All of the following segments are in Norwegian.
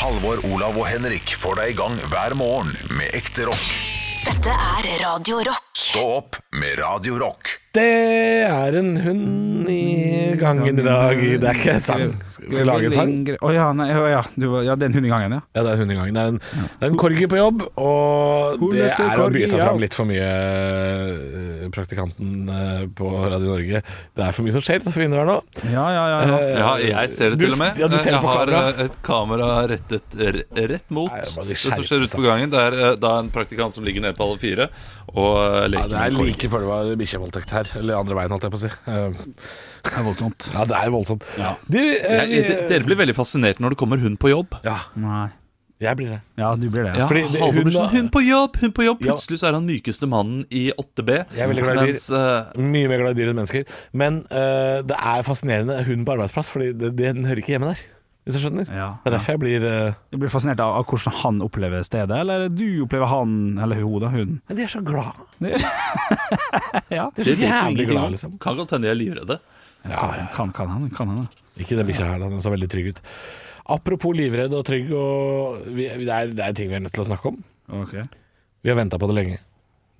Halvor, Olav og Henrik får deg i gang hver morgen med ekte rock. Dette er Radio Rock. Stå opp med Radio Rock. Det er en hund i gangen i dag. Det er ikke en sang. Eh, Skal vi lage en sang? Å ja, nei, å ja, du, var- ja, den hundegangen, ja. Ja, det er en hund i gangen. Det er en, det er en korgi på jobb, og Hun det heter er å by Corgi, seg ja. fram litt for mye, eh, praktikanten eh, på Radio Norge. Det er for mye som skjer for inneværende nå. Ja, ja, ja, ja. Eh, Ja, jeg ser det Du- til og med. ja, du ser det jeg på har kamera. eh, et kamera rettet r- rett mot Nei, det var litt det som skjerpet, skjer ute på gangen. Det er eh, da en praktikant som ligger nede på alle fire og eh, Ja, leker det er med korg. like før det var bikkjevoldtekt her. Eller andre veien, holdt jeg på å si. Eh, Det er voldsomt. Ja, det er voldsomt. Ja. Du, eh, Jeg- vi- de- Dere blir veldig fascinert når det kommer hund på jobb. Ja, Nei. jeg blir det. Ja, du blir det. Ja, Ja. Fordi det- Halvor hun blir da- sånn, Hund på jobb! Hund på jobb! Ja. Plutselig så er han mykeste mannen i 8B. Jeg er veldig glad i dyr. mens, eh, Mye mer glad i dyr enn mennesker. Men eh, det er fascinerende hund på arbeidsplass, Fordi det, det, den hører ikke hjemme der. Hvis du skjønner? Ja, Det er derfor jeg blir eh, Du blir fascinert av, av hvordan han opplever stedet, eller du opplever han, eller hun, da, hun. Men de er så glade. Ja, De er det så vet jeg jævlig ingenting glade, om. liksom. Kan godt hende de er livredde. Kan, kan han, kan han. da. Ikke den bikkja her, da. Den så veldig trygg ut. Apropos livredd og trygg og vi, det, er, det er ting vi er nødt til å snakke om. Ok. Vi har venta på det lenge.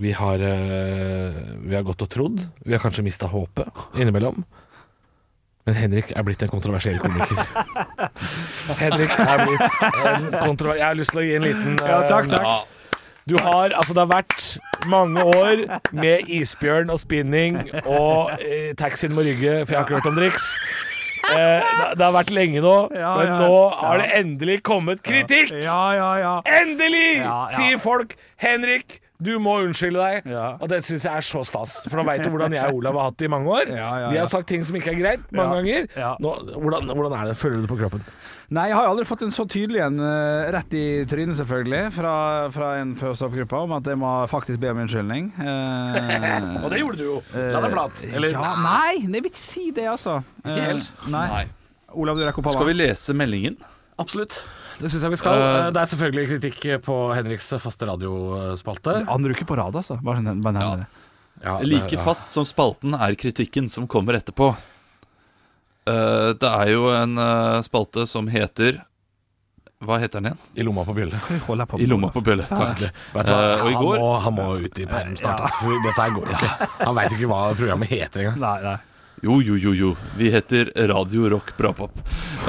Vi har, eh, vi har gått og trodd. Vi har kanskje mista håpet innimellom. Men Henrik er blitt en kontroversiell komiker. Henrik er blitt en kontroversiell Jeg har lyst til å gi en liten Ja, takk, eh, takk. Ja. Du har, altså det har vært mange år med isbjørn og spinning og eh, taxien må rygge, for jeg har ikke hørt om driks. Eh, det, det har vært lenge nå, Ja, men ja. nå har det endelig kommet kritikk! Ja, ja, ja. Endelig! Ja, ja. Sier folk. Henrik, du må unnskylde deg. Ja. Og det syns jeg er så stas, for nå veit du hvordan jeg og Olav har hatt det i mange år. Ja, ja, Vi ja. har sagt ting som ikke er greit mange Ja, ganger. ja. Nå, hvordan, hvordan er det? Føler du det på kroppen? Nei, jeg har jo aldri fått en så tydelig en eh, rett i trynet, selvfølgelig, fra, fra en på gruppa om at jeg må faktisk be om unnskyldning. Eh, Og det gjorde du jo. La deg flat. Eller ja, nei, jeg vil ikke si det, altså. Ikke helt. Nei. Nei. Olav, du rekker opp Skal hånda. vi lese meldingen? Absolutt. Det syns jeg vi skal. Eh, det er selvfølgelig kritikk på Henriks faste radiospalte. Andre uke på rad, altså. Bare, sånn- bare nevner det. Ja, det- Like ja. fast som spalten er kritikken som kommer etterpå. Eh, det er jo en eh, spalte som heter Hva heter den igjen? I lomma på bjølle. Vi holder på I lomma på bølle. Takk. Det- Vet du hva? Eh, og i han, går- må, han må ut i perm snart, Ja. altså, for dette her går ikke. Han veit jo ikke hva programmet heter engang. Nei, nei. Jo, jo, jo, jo. Vi heter Radio Rock Brapop.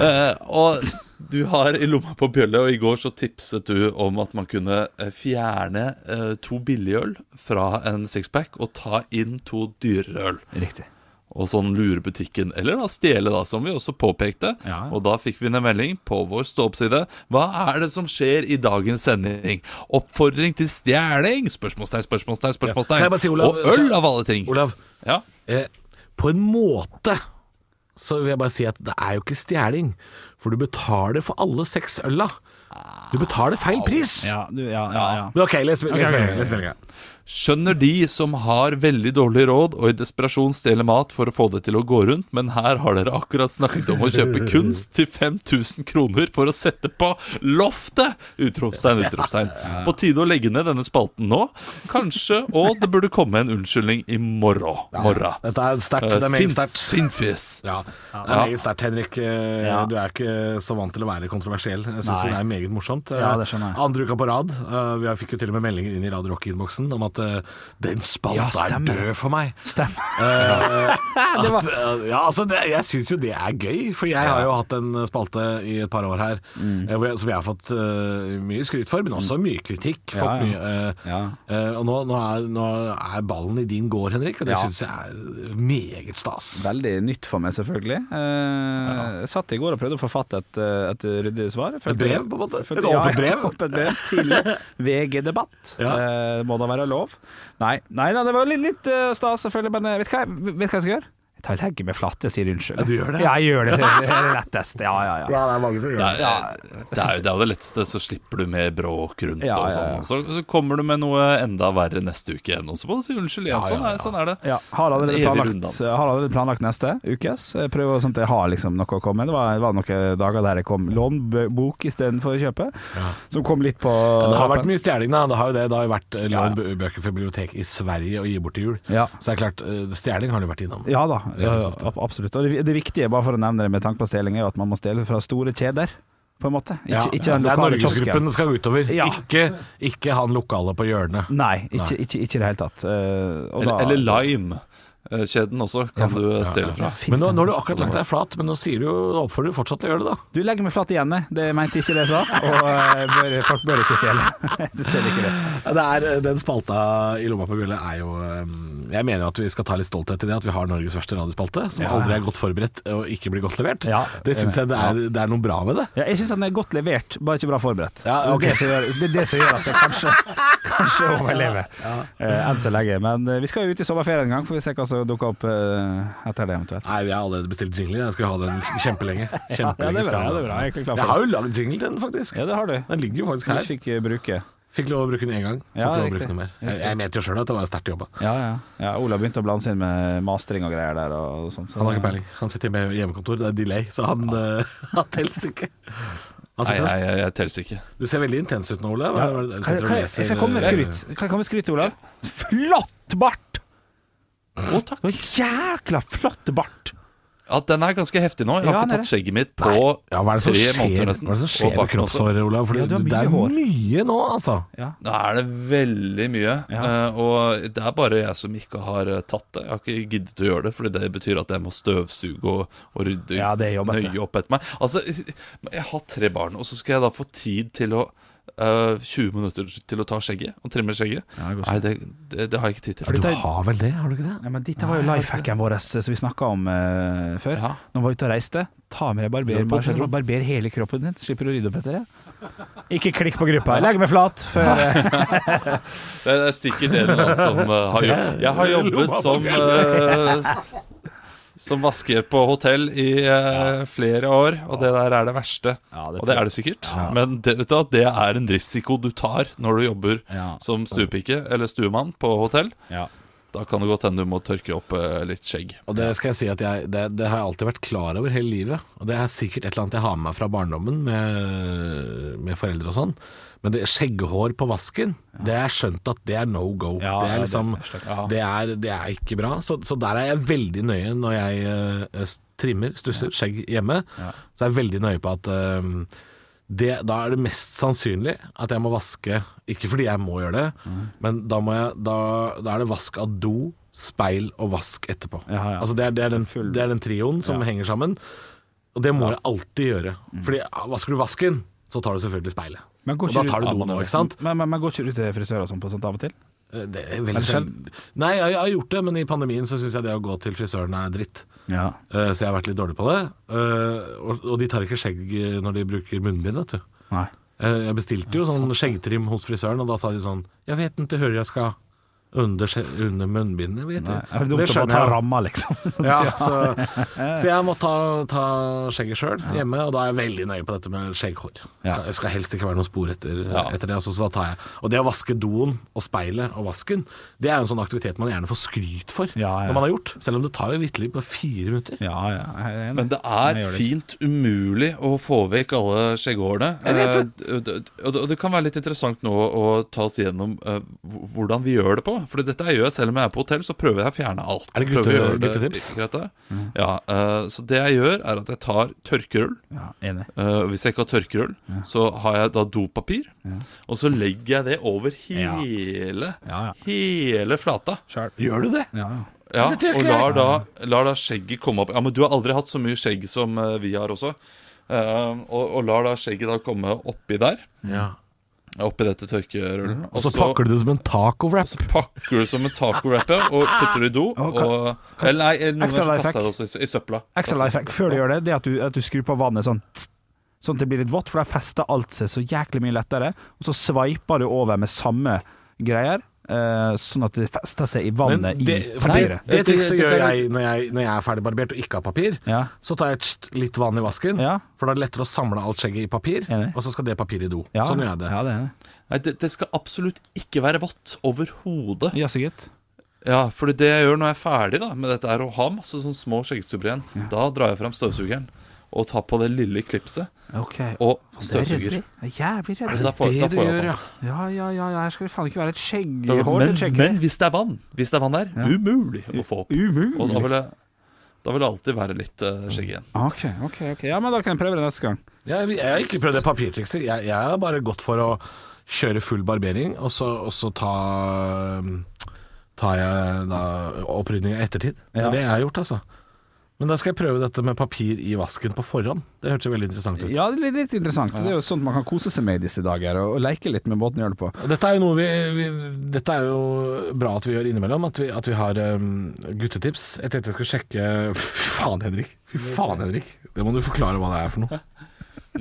Eh, og du har I lomma på bjølle, og i går så tipset du om at man kunne eh, fjerne eh, to billigøl fra en sixpack og ta inn to dyrere øl. Riktig. og sånn lure butikken, eller da stjele, da, som vi også påpekte. Ja. Og da fikk vi en melding på vår stå-opp-side. Hva er det som skjer i dagens sending? Oppfordring til stjeling? Spørsmålstegn, spørsmålstegn, Kan spørsmålstegn. jeg bare si, Olav, og øl, av alle ting. Olav, Ja. eh, på en måte så vil jeg bare si at det er jo ikke stjeling, for du betaler for alle seks ølla. Du betaler feil pris. Ja, du, ja, ja, ja. Men OK, les les ok, ok. meldinga. les meldinga. Skjønner de som har veldig dårlig råd og i desperasjon stjeler mat for å få det til å gå rundt, men her har dere akkurat snakket om å kjøpe kunst til 5000 kroner for å sette på loftet! Utropstegn, utropstegn. På tide å legge ned denne spalten nå, kanskje, og det burde komme en unnskyldning i morgen. morgen. Dette er sterkt. Det er Eh, meget sint- sterkt. Sintfjes. Ja, det er Ja. meget sterkt, Henrik. Eh, Ja. Du er ikke så vant til å være kontroversiell. Jeg syns Nei. det er meget morsomt. Eh, Ja, det skjønner jeg. Andre uka på rad. eh, Vi fikk jo til og med meldinger inn i Radio Rock-innboksen om at eh, den spalta Ja, er stemmer. død for meg. Stemmer. Eh, at, eh, ja, altså det, jeg syns jo det er gøy, for jeg har jo hatt en spalte i et par år her Mm. eh, hvor jeg, som jeg har fått eh, mye skryt for, men også mye kritikk. Fått Ja, ja. Mye, eh, Ja. eh, og nå, nå, er, nå er ballen i din gård, Henrik, og det Ja. synes syns jeg er meget stas. Veldig nytt for meg, selvfølgelig. Eh, Jeg satt i går og prøvde å forfatte et, eh, et ryddig svar. Følte- Et brev, på en måte? Følte- Et åpent brev? Ja, et åpent brev til VG-debatt. Ja. Eh, må da være lov? Nei, nei, nei det var litt, litt eh, stas, selvfølgelig, men eh, vet du hva, jeg- vet du hva jeg skal gjøre? Jeg tar legger meg flat, jeg sier unnskyld. Ja, du gjør det? Ja, jeg gjør det, sier jeg. det er det letteste. Ja, ja, ja. Ja, det er mange som gjør Det er, det, er, jo- det er jo det letteste, så slipper du mer bråk rundt Ja, og ja, ja. sånn. Så, så kommer du med noe enda verre neste uke igjen, og så må du si unnskyld igjen. Sånn er, sånn er det. Ja, har allerede, En evig planlagt, runddans. har allerede planlagt neste ukes. Jeg Prøver sånn at jeg har liksom noe å komme med. Det var, det var noen dager der jeg kom lånbok istedenfor å kjøpe, som kom litt på Det har vært rappen. mye stjeling, da. Det har jo det. Det har jo vært eh, Ja, ja. lån bø- bøker fra bibliotek i Sverige og gi bort til jul. Ja. Så det er klart, eh, stjeling har det vært innom. Ja da, Rett og slett. ab- absolutt. Og det, det viktige, bare for å nevne det med tanke på stjeling, er jo at man må stjele fra store kjeder. på en måte. Ikke, Ja, ikke den det er lokale kiosken. Norgesgruppen det skal utover. Ja. Ikke, ikke han lokale på hjørnet. Nei, ikke, ikke, ikke i det hele tatt. Eh, og Eller, da- eller Lime-kjeden også kan du eh, stjele fra. Finnes Men nå, det? nå har du akkurat lagt deg flat, men nå sier du jo, nå oppfordrer du fortsatt til å gjøre det, da. Du legger meg flatt igjen, jeg. det mente ikke det jeg sa. Og eh, bør, folk bør ikke stjele. Det stjeler ikke rett. eh, den spalta i lomma på gullet er jo eh, Jeg mener jo at vi skal ta litt stolthet i det, at vi har Norges verste radiospalte, som aldri er godt forberedt og ikke blir godt levert. Ja, det syns jeg det er, det er noe bra med det. Ja, jeg syns den er godt levert, bare ikke bra forberedt. Ja, ok. det, er det som gjør, det er det som gjør at jeg kanskje, kanskje overlever eh, enn så lenge. Men eh, vi skal jo ut i sommerferie en gang, får vi se hva som dukker opp eh, etter det eventuelt. Nei, vi har allerede bestilt jingler. Jeg skal ha den kjempelenge. Ja, det Kjempelenge er skal jeg bra, ha det er den. bra. Jeg er egentlig klar for Jeg har jo lagd jingle til den, faktisk. Ja, det har du. Den ligger jo faktisk Du her. fikk eh, bruke. Fikk lov å bruke den én gang. Fikk Ja, lov å riktig. bruke den mer. Jeg, jeg mente jo sjøl at det var sterkt jobba. Ja, ja. ja Ola begynte å blande seg inn med mastering og greier der og sånn. så- Han har ikke peiling. Han sitter med hjemmekontor, det er delay, så han, eh, han telles ikke. Han Nei, sitter, jeg, og- jeg, jeg tels ikke. Du ser veldig intens ut nå, Ole. Hva, hva, Kan sitter jeg, og kan jeg, leser- eh, jeg skal komme med skryt. Kan jeg komme med skryt, Olav? Flott bart! Å, takk. Noe jækla flott bart! Ja, den er ganske heftig nå. Jeg har Ja, den ikke er tatt det. skjegget mitt på Ja, hva er det som tre skjer, måneder hva nesten. er det som skjer Og med bakken også. kroppsåret, Olav? Fordi Ja, du har det er mye hår. mye nå, altså. Det er det veldig mye. Ja. eh, Og det er bare jeg som ikke har eh, tatt det. Jeg har ikke giddet å gjøre det, Fordi det betyr at jeg må støvsuge og, og rydde Ja, det er jobbete. nøye opp etter meg. Altså, jeg har tre barn, og så skal jeg da få tid til å eh, 20 minutter til å ta skjegget og trimme skjegget. Nei, det, det, det har jeg ikke tid til. Du har vel det, har du ikke det? Ja, men Dette var jo lifehacken vår som vi snakka om eh, før. Ja. Når vi var ute og reiste, ta med deg barber, Gjør det på barber, hotellrom. barber hele kroppen din. Slipper du å rydde opp etter det. Ikke klikk på gruppa. Legg meg flat før eh. Det er sikkert en eller annen som eh, har jobbet Jeg har jobbet som eh, Som vasker på hotell i eh, flere år, og det der er det verste. og det er det sikkert. Men det, vet du, hva, det er en risiko du tar når du jobber Ja. som stuepike eller stuemann på hotell. Ja. Da kan det godt hende du må tørke opp eh, litt skjegg. Og det skal jeg si at jeg, det, det har jeg alltid vært klar over hele livet. Og det er sikkert et eller annet jeg har med meg fra barndommen med, med foreldre og sånn. Men det, skjegghår på vasken, det har jeg skjønt at det er no go. Ja, det, ja, er det liksom, er det, er, det er ikke bra. Så, så der er jeg veldig nøye når jeg eh, s- trimmer, stusser skjegg hjemme. Så er jeg veldig nøye på at eh, det, da er det mest sannsynlig at jeg må vaske Ikke fordi jeg må gjøre det, men da, må jeg, da, da er det vask av do, speil og vask etterpå. Ja, ja. Altså det, er, det, er den, Full- det er den trioen som henger sammen. Og det må jeg alltid gjøre. Mm. Fordi ah, vasker du vasken, så tar du selvfølgelig speilet. Men Og går ikke da du- tar du Ja, doen man- òg, ikke sant? Men, men, men går ikke du til frisør og sånn på sånt av og til? Eh, Det er veldig sjelden. Nei, jeg, jeg har gjort det, men i pandemien så syns jeg det å gå til frisøren er dritt. Ja. Eh, Så jeg har vært litt dårlig på det. Eh, Og, og de tar ikke skjegg eh, når de bruker munnbind, vet du. Nei. Eh, Jeg bestilte jo sånn skjeggtrim hos frisøren, og da sa de sånn Jeg vet ikke hvor jeg skal under, skje- under munnbindet, vet du. Nei. Er det Og dumt å bare jeg. ta ramma, liksom? Sånn, Ja, så, så jeg må ta, ta skjegget sjøl hjemme, og da er jeg veldig nøye på dette med skjegghår. Ja. Skal, skal helst ikke være noen spor etter, Ja. etter det. Altså, så da tar jeg. Og det å vaske doen og speilet og vasken, det er jo en sånn aktivitet man gjerne får skryt for Ja, ja. når man har gjort. Selv om det tar jo vitterlig bare fire minutter. Ja, ja. jeg er enig. Men det Jeg er gjør det ikke. fint umulig å få vekk alle skjegghårene. Jeg Eh, d- d- og det- og det kan være litt interessant nå å ta oss gjennom eh, hv- hvordan vi gjør det på. For dette jeg gjør selv om jeg er på hotell, så prøver jeg å fjerne alt. Er det Prøver å gutte- gjøre det- guttetips? greit det? Mhm. Ja, eh, så det jeg gjør, er at jeg tar tørkerull. Ja, enig. Eh, hvis jeg ikke har tørkerull, så har jeg da dopapir. Og så legger jeg det over Ja. hele, Ja, ja. hele flata. Gjør du det? Ja, ja. Ja, det tror jeg og ikke lar jeg. da, lar da skjegget komme opp Ja, men du har aldri hatt så mye skjegg som eh, vi har også Eh, og, og lar da skjegget da komme oppi der Oppi dette tørkerullen Og så pakker du det som en taco-wrap. pakker du som en taco-wrap ja, Og putter det i do Og og, ka- Eller nei, eller noen Extra ganger så life kaster jeg det også i, s- i søpla Extra life hack før du gjør det, det er at du, at du skrur på vannet sånn tss, Sånn at det blir litt vått, for da fester alt seg så jæklig mye lettere. Og så sveiper du over med samme greier, eh, sånn at det fester seg i Men vannet det, i for det, papiret. det Dette- trikset dette gjør er jeg når, jeg når jeg er ferdig barbert og ikke har papir. Ja. Så tar jeg tst, litt vann i vasken, Ja. for da er det lettere å samle alt skjegget i papir. Enig. Og så skal det papiret i do. Ja, Sånn gjør jeg det. Ja, det er det. Nei, det, det skal absolutt ikke være vått overhodet Ja, så gitt. Ja, for det jeg gjør når jeg er ferdig da med dette, er å ha masse sånne små skjeggstubber igjen. Da drar jeg frem støvsugeren og tar på det lille klipset Ok. og Det er støvsuger. ryddig. Det er Jævlig Men redd. Da får, det da du får jeg gjør, opp ja? alt. Ja, ja, ja, ja, her skal det faen ikke være et Da- skjegghår Men, til skjegg. men hvis det er vann, hvis det er vann der, umulig å få opp. Umulig. Og da vil, jeg, da vil det alltid være litt eh, skjegg igjen. Ok, ok, ok. Ja, men da kan jeg prøve det neste gang. Jeg, jeg har ikke prøvd det papirtrikset. Jeg, jeg har bare gått for å kjøre full barbering, og så, og så ta um, tar jeg da opprydninga i ettertid. Det er Ja. det jeg har gjort, altså. Men da skal jeg prøve dette med papir i vasken på forhånd. Det hørtes jo veldig interessant ut. Ja, det er litt interessant. Det er jo sånt man kan kose seg med i disse dager, og, og leke litt med måten å gjøre det på. Dette er jo noe vi, vi Dette er jo bra at vi gjør innimellom, at vi, at vi har um, guttetips. Jeg tenkte jeg skulle sjekke Fy faen, Henrik. Fy faen, Henrik. Det må du forklare hva det er for noe.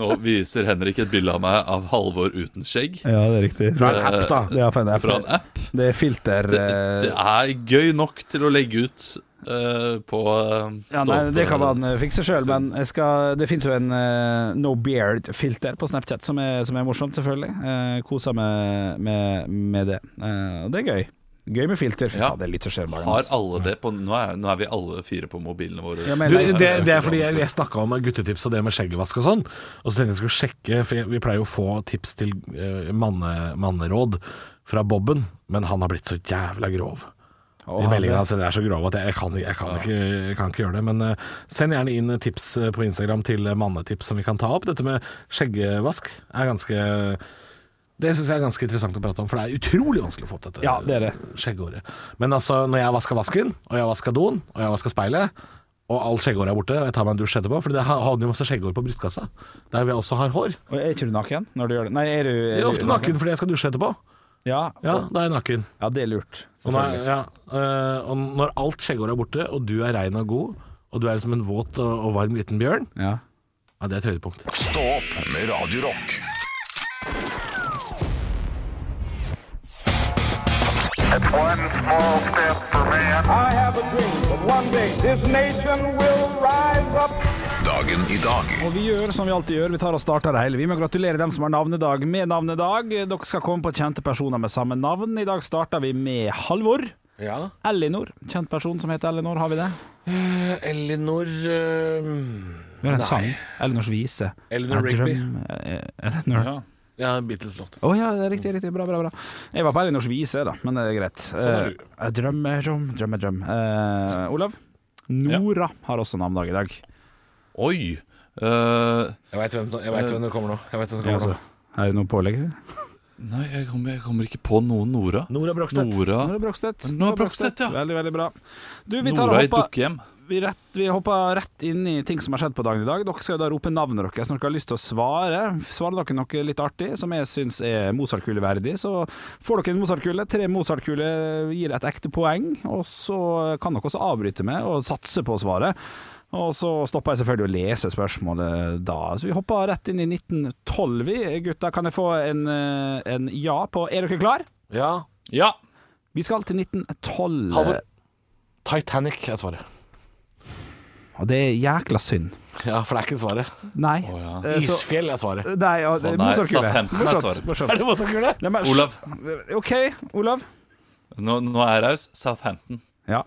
Nå viser Henrik et bilde av meg av Halvor uten skjegg Ja, det er riktig. Fra en app, da. Det er fra en app. fra en app. Det er filter Det, eh, det er gøy nok til å legge ut eh, på eh, ja, nei, Det stående- kan man eh, fikse sjøl, men jeg skal, det fins jo en eh, no beard-filter på Snapchat som er, som er morsomt, selvfølgelig. Eh, koser meg med, med det. Eh, og det er gøy. Gøy med filter. Fy Ja. faen, det er litt som skjer bare. Har alle det på Nå er, nå er vi alle fire på mobilene våre. Ja, men- Du, det, det er fordi jeg, jeg snakka om guttetips og det med skjeggvask og sånn. Og så tenkte jeg skulle sjekke, for jeg, vi pleier jo å få tips til eh, manne, manneråd fra Bobben, men han har blitt så jævla grov. Å, De meldingene ha hans er så grove at jeg, jeg, kan, jeg, kan ikke, jeg kan ikke gjøre det. Men eh, send gjerne inn tips eh, på Instagram til eh, mannetips som vi kan ta opp. Dette med skjeggevask er ganske det syns jeg er ganske interessant å prate om, for det er utrolig vanskelig å få opp dette Ja, det er det. skjeggehåret. Men altså, når jeg vasker vasken, og jeg vasker doen, og jeg vasker speilet, og alt skjegghåret er borte, og jeg tar meg en dusj etterpå, for det havner jo masse skjegghår på brystkassa, der hvor jeg også har hår. altså. det. Og Er ikke du naken når du gjør det? Nei, er du er Jeg er du ofte naken fordi jeg skal dusje etterpå. Ja, Ja, da er jeg naken. ja, det er lurt. Og når, ja, eh, og når alt skjegghår er borte, og du er rein og god, og du er som en våt og, og varm liten bjørn, Ja. ja, det er et høydepunkt. Stå opp med Radio Rock. One small step for man. I have a dream that one day this nation will rise up. Dagen i dag. Og vi gjør som vi alltid gjør, vi tar og starter det hele. Vi må gratulere dem som har navnedag med navnedag. Dere skal komme på kjente personer med samme navn. I dag starter vi med Halvor. Ja. Elinor. Kjent person som heter Elinor, har vi det? Elinor eh, Vi har en sang. Elinors vise. Elinor Jeg Rigby. drømmer- eh, Elinor Å ja. Ja, Beatles-låt. det er riktig, riktig. Bra, bra, bra. Jeg var på Elinors vise, da, men det er greit. er Eh, Jeg drømmer om, drømmer, drøm. Eh, Olav? Nora har også navnedag i dag. Oi! eh, Jeg veit hvem, jeg vet hvem det kommer nå. Jeg vet hvem som Ja, kommer altså. nå. Er det noe pålegg? nei, jeg kommer, jeg kommer ikke på noen Nora. Nora Brogstad. Nora Nora Brogstedt. Nora Brogstedt, ja. Veldig, veldig bra. Du, vi tar og Nora i hopper dukkehjem. vi, rett, vi hopper rett inn i ting som har skjedd på dagen i dag. Dere skal jo da rope navnet deres når dere har lyst til å svare. Svarer dere noe litt artig som jeg syns er Mozart-kuleverdig, så får dere en Mozart-kule. Tre Mozart-kuler gir et ekte poeng, og så kan dere også avbryte med og satse på svaret. Og så stopper jeg selvfølgelig å lese spørsmålet da. Så vi hopper rett inn i 1912, vi. Gutta, kan jeg få en, eh, en ja på Er dere klar? Ja. Ja! Vi skal til 1912. Halvor. Titanic er svaret. Og det er jækla synd. Ja, for det er ikke svaret. Nei. ja. Eh, så- Isfjell er svaret. Nei, ja, det Å, er nei, Mozartkule. Southampton er Morsomt. svaret. morsomt. det Mozart-kule? Nei, men- Olav, OK, Olav. nå, nå er jeg raus. Southampton. Ja.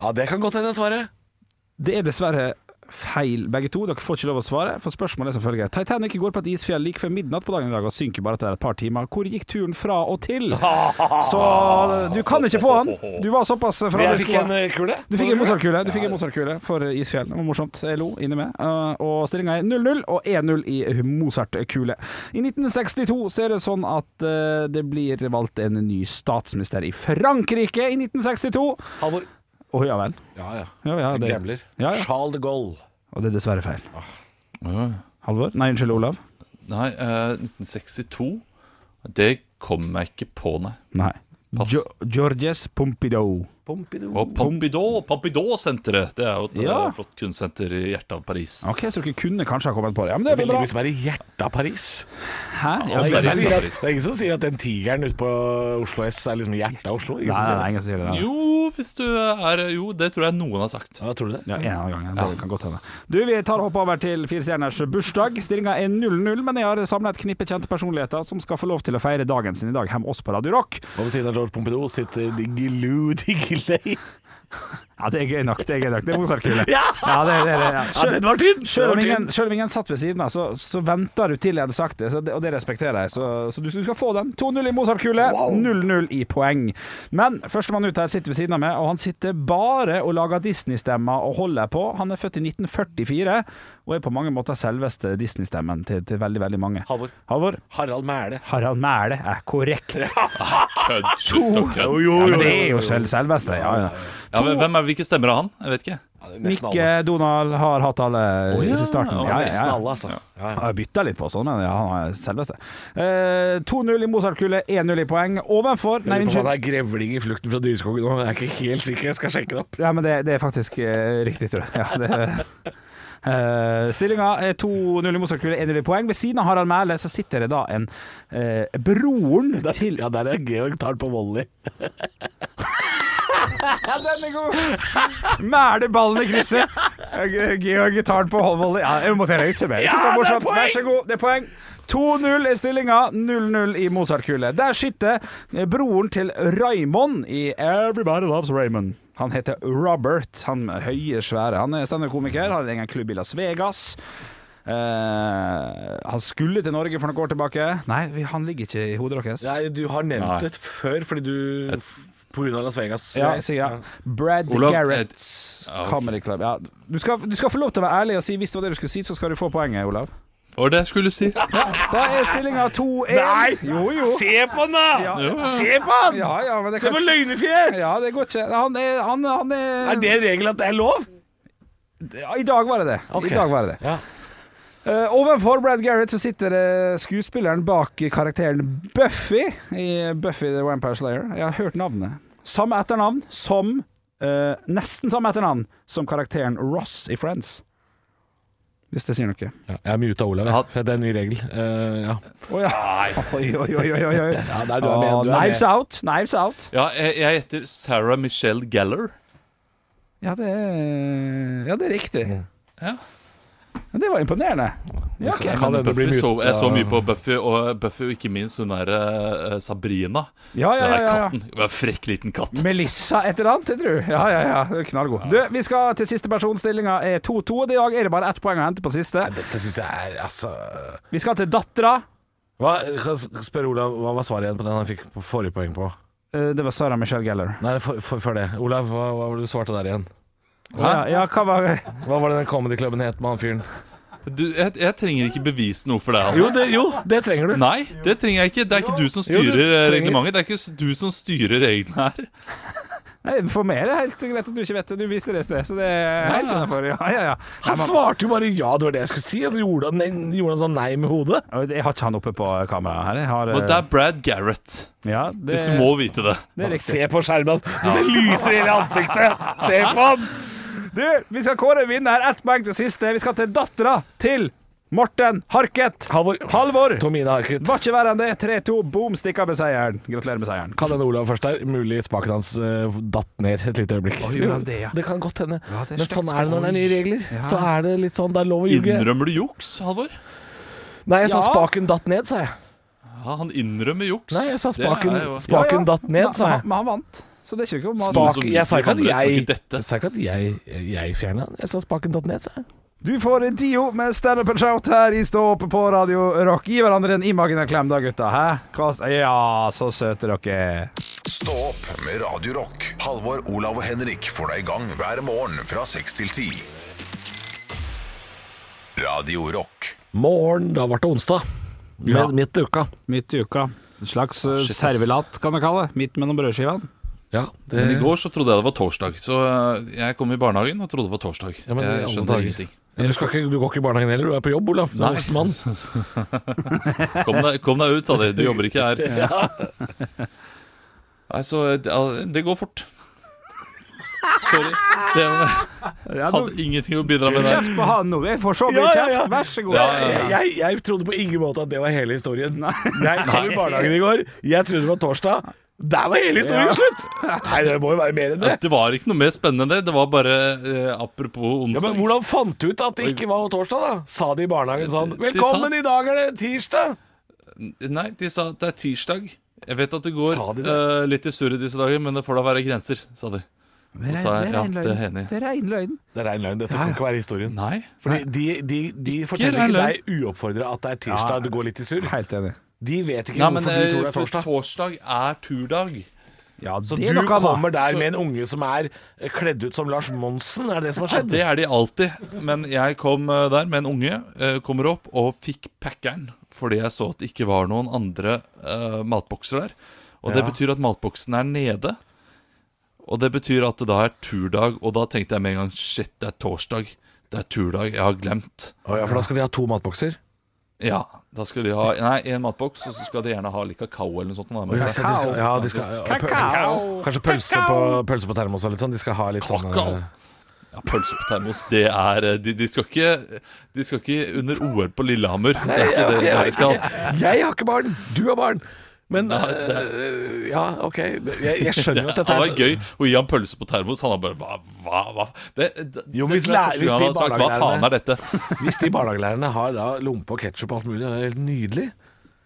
Ja, det kan godt hende svaret. Det er dessverre feil, begge to. Dere får ikke lov å svare, for spørsmålet er som følger. Titanic går på et isfjell like før midnatt på dagen i dag og synker bare etter et par timer. Hvor gikk turen fra og til? Så eh, du kan ikke få han. Du var såpass fra Jeg du fikk en skulle- eh, kule. Du fikk en Mozart-kule Du fikk en Mozart-kule for Isfjell. Det var morsomt. Jeg lo inni meg. Uh, Og stillinga er 0-0 og 1-0 i Mozart-kule. I 1962 så er det sånn at uh, det blir valgt en ny statsminister i Frankrike i 1962. Å Halvor. ja vel. Ja, ja. Ja, ja, det. Gambler. Ja, ja. Charles de Gaulle. Og det er dessverre feil. Ja. Halvor? Nei, unnskyld, Olav. Nei, eh, 1962 Det kom jeg ikke på, nei. Nei. Pass. Jo Georges Pompidou. Pompidou. Og Pompidou, Pompidou-senteret. Det er jo et Ja. eh, flott kunstsenter i hjertet av Paris. Ok, Så dere kunne kanskje ha kommet på det. Ja, men det Det er er vel bra. veldig mye som er i hjertet av Paris. Hæ? Ja, det, er ingen som Paris, sier at, Paris. det er ingen som sier at den tigeren ute på Oslo S er liksom hjertet av Oslo. Ingen nei, som sier det. nei, nei, ingen sier det. Jo, hvis du er Jo, det tror jeg noen har sagt. Ja, tror du det? Ja, en annen gang. Ja. Det kan godt hende. Du, vi tar og hopper over til firestjerners bursdag. Stillinga er 0-0, men jeg har samla et knippe kjente personligheter som skal få lov til å feire dagen sin i dag hjemme oss på Radio Rock. Og ved siden av George Pompidou sitter Diggiloo Diggiley. Ja, det er gøy nok. Det er gøy nok. Det er Mozart-kule. Ja! det, det, det, ja. Sjøl- den var tynn! Selv om, Den var ingen, selv om ingen satt ved siden av, så, så venter du til jeg hadde sagt det, så det og det respekterer jeg. Så, så du, du skal få den. 2-0 i Mozart-kule, 0-0 i poeng. Men førstemann ut her sitter ved siden av meg, og han sitter bare og lager Disney-stemmer og holder på. Han er født i 1944, og er på mange måter selveste Disney-stemmen til, til veldig, veldig mange. Halvor. Halvor. Harald Mæle. Harald Mæhle er korrekt. Kødd, slutt å kødde. Ja, men det er jo selv, selveste. Ja, ja. Ja, men hvem er, hvilke stemmer har han? Jeg vet ikke. Mikke Donald har hatt alle Å, ja. i starten. Ja, Nesten alle, altså. Ja. Jeg bytta litt på sånne. Ja, han er selveste. Eh, 2-0 i Mozart-kule, 1-0 i poeng. Ovenfor Nei, Lurer på om unnskyld. han er grevling i flukten fra dyreskogen. og Jeg er ikke helt sikker, jeg skal sjekke det opp. Ja, men det, det er faktisk eh, riktig, tror jeg. Ja, det, eh, Stillinga er 2-0 i Mozart-kule, 1-0 i poeng. Ved siden av Harald Mæhle så sitter det da en eh, broren til Ja, der er Georg tar den på volley. Mæleballen i krysset! G- Georg tar den på håndvolley. Ja, jeg må til røyse meg. Jeg synes det var morsomt. Vær så god, det er poeng. 2-0 i stillinga, 0-0 i Mozart-kule. Der sitter eh, broren til Raymond i Everybody Loves Raymond. Han heter Robert, han er høye, svære. Han er standup-komiker, har en egen klubb i Las Vegas. Eh, han skulle til Norge for noen år tilbake. Nei, vi- han ligger ikke i hodet deres. Nei, du har nevnt det før, fordi du På grunn av Las Vegas. Ja, jeg sier ja. Brad Olav, Garrett's et- ja, ok. Comedy Club. Ja. Du, skal, du skal få lov til å være ærlig og si hvis det var det du skulle si, så skal du få poenget, Olav. Hva var det jeg skulle si? Da er stillinga 2-1. Nei! Jo, jo. Se på den, da! Ja. Se på den! Ja, ja, men det Se kan på ikke løgnefjes! ja, det går ikke. Han er, han, han er, Er det regelen at det er lov? Ja, I dag var det det. Ok. I dag var det det. Ja. Eh, ovenfor Brad Garrett så sitter eh, skuespilleren bak karakteren Buffy i Buffy the Vampire Slayer. Jeg har hørt navnet. Samme etternavn som eh, Nesten samme etternavn som karakteren Ross i Friends. Hvis det sier noe. jeg er muta Olav. jeg. Det er en ny regel. Eh, ja. Å ja. Oi, oi, oi, oi, oi. oi. nei, du er med, Ah, du er knives med. out. Knives out. Ja, jeg, jeg heter Sarah Michelle Geller. Ja, det er, ja, det er riktig. Mm. Ja. Ja, Det var imponerende. Ja, ok. Jeg, kan mener hende bli Buffy så, muta. jeg så mye på Buffy, og Buffy og ikke minst hun derre Sabrina. Ja, ja, ja, Den der ja, ja. katten. Hun er en frekk liten katt. Melissa et eller annet, jeg tror. Ja, ja, ja. Knallgod. Du, vi skal til siste person. Stillinga er 2-2. og I dag er det bare ett poeng å hente på siste. Dette syns jeg er altså Vi skal til dattera. hva, kan jeg spørre Olav, hva var svaret igjen på den han fikk på forrige poeng på? Eh, Det var Sara Michelle Geller. Nei, for, for, før det. Olav, hva, hva var det du svarte der igjen? Ja, ja, hva var Hva var det den comedyklubben het med han fyren? Du, jeg, jeg trenger ikke bevise noe for deg. Hanne. det, trenger Nei, det trenger jeg ikke. Det er ikke du som Jo, du styrer eh, trenger- reglementet. Det er ikke s- du som styrer reglene her. Nei, For meg er det helt greit at du ikke vet det. Du viste det i sted, så det er helt innafor. Ja, ja, ja. Nei, Han man- svarte jo bare ja, det var det jeg skulle si. Og så gjorde han, nei- gjorde han sånn nei med hodet. Jeg har ikke han oppe på kameraet her. Jeg har, eh, Og det er Brad Garrett, ja, det, hvis du må vite det. det er riktig. Se på skjermen hans! Det lyser i hele ansiktet! Se på han! Du, vi skal kåre en vinner. Ett poeng til siste. Vi skal til dattera til Morten Harket. Halvor. Halvor. Tomine Harket. Var ikke verre enn det. 3-2, boom, stikker med seieren. Gratulerer med seieren. Kan hende Olav først der. Mulig spaken hans eh, datt ned et lite øyeblikk. gjorde han det, ja? det kan godt hende. Ja, det er Men slags- sånn er det når det er nye regler. Ja. Så er det litt sånn Det er lov å ljuge. Innrømmer du juks, Halvor? Nei, jeg sa Ja. spaken datt ned, sa jeg. Ja, han innrømmer juks. Nei, jeg sa Det er spaken, jo- Ja, ja. spaken datt ned, sa Men- jeg. Men han vant, så det er ikke om han Spak- Spaken, jeg sa ikke at Det handler jeg ikke om dette. Jeg sa ikke at jeg, jeg fjerna den. Jeg sa spaken datt ned, sa jeg. Du får Dio med standup and shout her i Stå oppe på Radio Rock. Gi hverandre en imaginær klem da, gutta. Hæ? Hva- Ja, så søte dere. Stå opp med Radio Rock. Halvor, Olav og Henrik får deg i gang hver morgen fra 6 til 10. Radio Rock. Morgen, da ble det onsdag. Med, Ja. Midt i uka. Midt i uka. En slags eh, Shit, ass. servelat, kan jeg kalle det. Midt mellom brødskivene. Ja, det, Men i går så trodde jeg det var torsdag, så eh, jeg kom i barnehagen og trodde det var torsdag. Ja, men i alle jeg skjønner dager. ingenting. Men du, skal ikke, du går ikke i barnehagen heller, du er på jobb, Olav. Du er voksen mann. Kom deg, kom deg ut, sa de. Du jobber ikke her. Nei, så eh, ja, Det går fort. Sorry. Det Ja, hadde du, ingenting å bidra med der. kjeft på han nå. Jeg får så mye Ja, ja, ja. kjeft. Vær så god. Ja, ja, ja. Jeg, jeg trodde på ingen måte at det var hele historien. Jeg kom i barnehagen i går, jeg trodde det var torsdag. Der var hele historien Ja. slutt! Nei, det må jo være mer enn det. Det var ikke noe mer spennende enn det. Det var bare eh, apropos Ja, onsdag. men Hvordan fant du ut at det ikke var torsdag, da? Sa de i barnehagen sånn De- de sa- Velkommen, i dag er det tirsdag! Nei, de sa at det er tirsdag. Jeg vet at det går Sa de det? eh, litt i surr i disse dager, men det får da være grenser, sa de. Det Og så er- ja, det er enig. Det er rein løgn. Det er rein løgn. Dette kan ikke være historien. Nei. Fordi de, de, de forteller rein ikke løgn. deg uoppfordra at det er Ja. tirsdag, du går litt i surr. Helt enig. De vet ikke Nei, men hvorfor du tror det eh, er for torsdag. torsdag er turdag. Ja, Så det er du noe annet. kommer der Så- med en unge som er eh, kledd ut som Lars Monsen, er det det som har Ja, skjedd? det er de alltid. Men jeg kom eh, der med en unge, eh, kommer opp og fikk packeren fordi jeg så at det ikke var noen andre eh, matbokser der. Og det Ja. betyr at matboksen er nede. Og det betyr at det da er turdag, og da tenkte jeg med en gang Shit, det er torsdag. Det er turdag. Jeg har glemt. Å ja, for da skal de ha to matbokser. Ja, da skal de ha Nei, en matboks, og så skal de gjerne ha litt kakao eller noe sånt. da, med Ja, de seg. skal, ja, de skal, ja, pøl- Kanskje pølse på, pølse på termos og litt sånn. De skal ha litt sånn Kakao. eh, Ja, pølse på termos, det er eh, De, de, skal, ikke, de skal ikke under OL på Lillehammer. Det er ikke det de skal. eh, Jeg har ikke barn, du har barn. Men eh, Ja, OK. Jeg, jeg skjønner jo at dette Det er var gøy å gi ham pølse på termos. Han har bare Hva? hva, hva? Det, det, Jo, det hvis tror jeg lærer- første hvis gang han de har sagt, Hva faen er dette? Hvis de barnehagelærerne har da lompe og ketsjup og alt mulig, det er helt nydelig.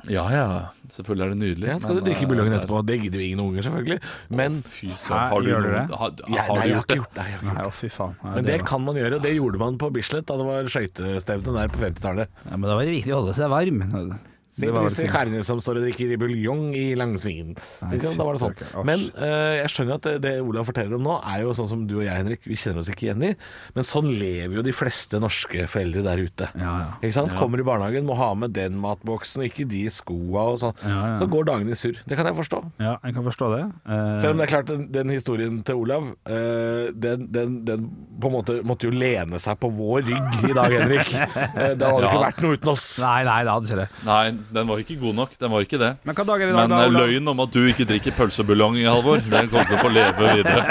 Ja ja, selvfølgelig er det nydelig. Ja, skal du men, drikke eh, buljongen det er- etterpå? Det gidder jo ingen unger, selvfølgelig. Men Fy Hæ, søren, har du gjør gjør du noen, det? har, jeg, har nei, jeg du har gjort ikke det? gjort det. Jeg har ikke Nei, gjort det. å, fy faen. Nei, Men det var- kan man gjøre, og det gjorde man på Bislett da det var skøytestevne der på 50-tallet. ja, Men da var det viktig å holde seg varm. Det Se på var disse det fint. karene som står og drikker i buljong i Langsvingen. Nei, Ikke sant? Da var det sånn. fy søren. Men eh, jeg skjønner at det, det Olav forteller om nå, er jo sånn som du og jeg, Henrik, vi kjenner oss ikke igjen i. Men sånn lever jo de fleste norske foreldre der ute. Ja, ja. Ikke sant? Kommer i barnehagen, må ha med den matboksen, og ikke de skoa og sånn. Ja, ja. Så går dagene i surr. Det kan jeg forstå. Ja, jeg kan forstå det. Eh, Selv om det er klart, den, den historien til Olav, eh, den, den, den på en måte måtte jo lene seg på vår rygg i dag, Henrik. Eh, det hadde ikke Ja. vært noe uten oss. Nei, nei, det hadde ikke det. Nei, den var ikke god nok. Den var ikke det. Men hva dag er det i dag, Men da? eh, Olav? løgnen om at du ikke drikker pølsebuljong, Halvor, den kommer til å få leve videre.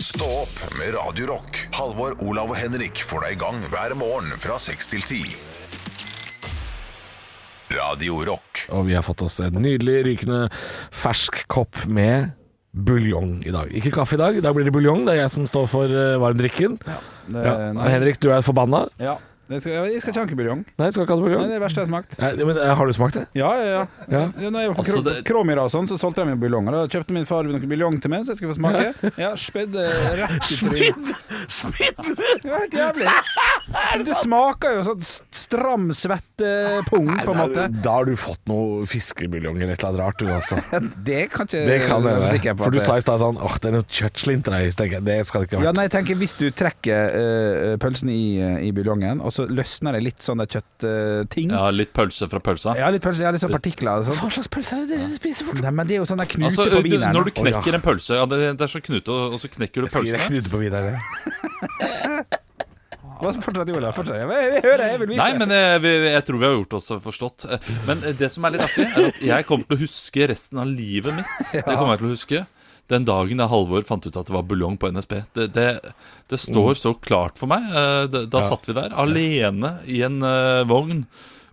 Stå opp med Radio Rock. Halvor, Olav og Henrik får deg i gang hver morgen fra 6 til 10. Radio Rock. Og vi har fått oss en nydelig rykende fersk kopp med buljong i dag. Ikke kaffe i dag, da blir det buljong. Det er jeg som står for eh, varmdrikken. Ja. Det- Og nei. Henrik, du er forbanna. Ja. Eh, Jeg skal, jeg skal ikke ha ankebuljong. Nei, skal ikke ha det Nei, buljong. Det er det verste jeg har smakt. Nei, men eh, har du smakt det? Ja, ja, ja. Ja. ja når jeg var på Altså, Kro- det- Kråmyra og sånn, så solgte jeg meg buljonger. Da kjøpte min far noen buljong til meg, så jeg skulle få smake. Ja, Spydde rett i trynet. Det var helt jævlig. Det, smaker jo sånn st- stram svettepung, på en Nei, måte. Da har du fått noe fiskebuljong eller et eller annet rart, du altså. Det kan ikke Det kan det være være. sikker på For du at det- sa i stad sånn Åh, det er noe kjøttslinter her. Så tenker jeg, Det skal det ikke Ja, være. nei, jeg tenker Hvis du trekker eh, pølsen i, i buljongen, og så løsner det litt sånn kjøttting Ja, litt pølse fra pølsa. Jeg har litt pølse, jeg har litt sånn partikler og sånt. Hva slags pølse er det dere spiser for Nei, men det er jo sånn der knute Altså, på du, vineren. når du da. knekker en pølse ja, Det, det er så knute, og og så knekker du Skriver jeg pølsene. knute på videre? Hva- Fortsett, Olav. Fortsett. Jeg, jeg, jeg hører, jeg vil vite. Nei, men eh, vi, jeg tror vi har gjort oss forstått. Eh, Men eh, det som er litt artig, er at jeg kommer til å huske resten av livet mitt. Det kommer jeg til å huske Den dagen da Halvor fant ut at det var buljong på NSB. Det, det, det står så klart for meg. Eh, Da, da satt vi der alene i en eh, vogn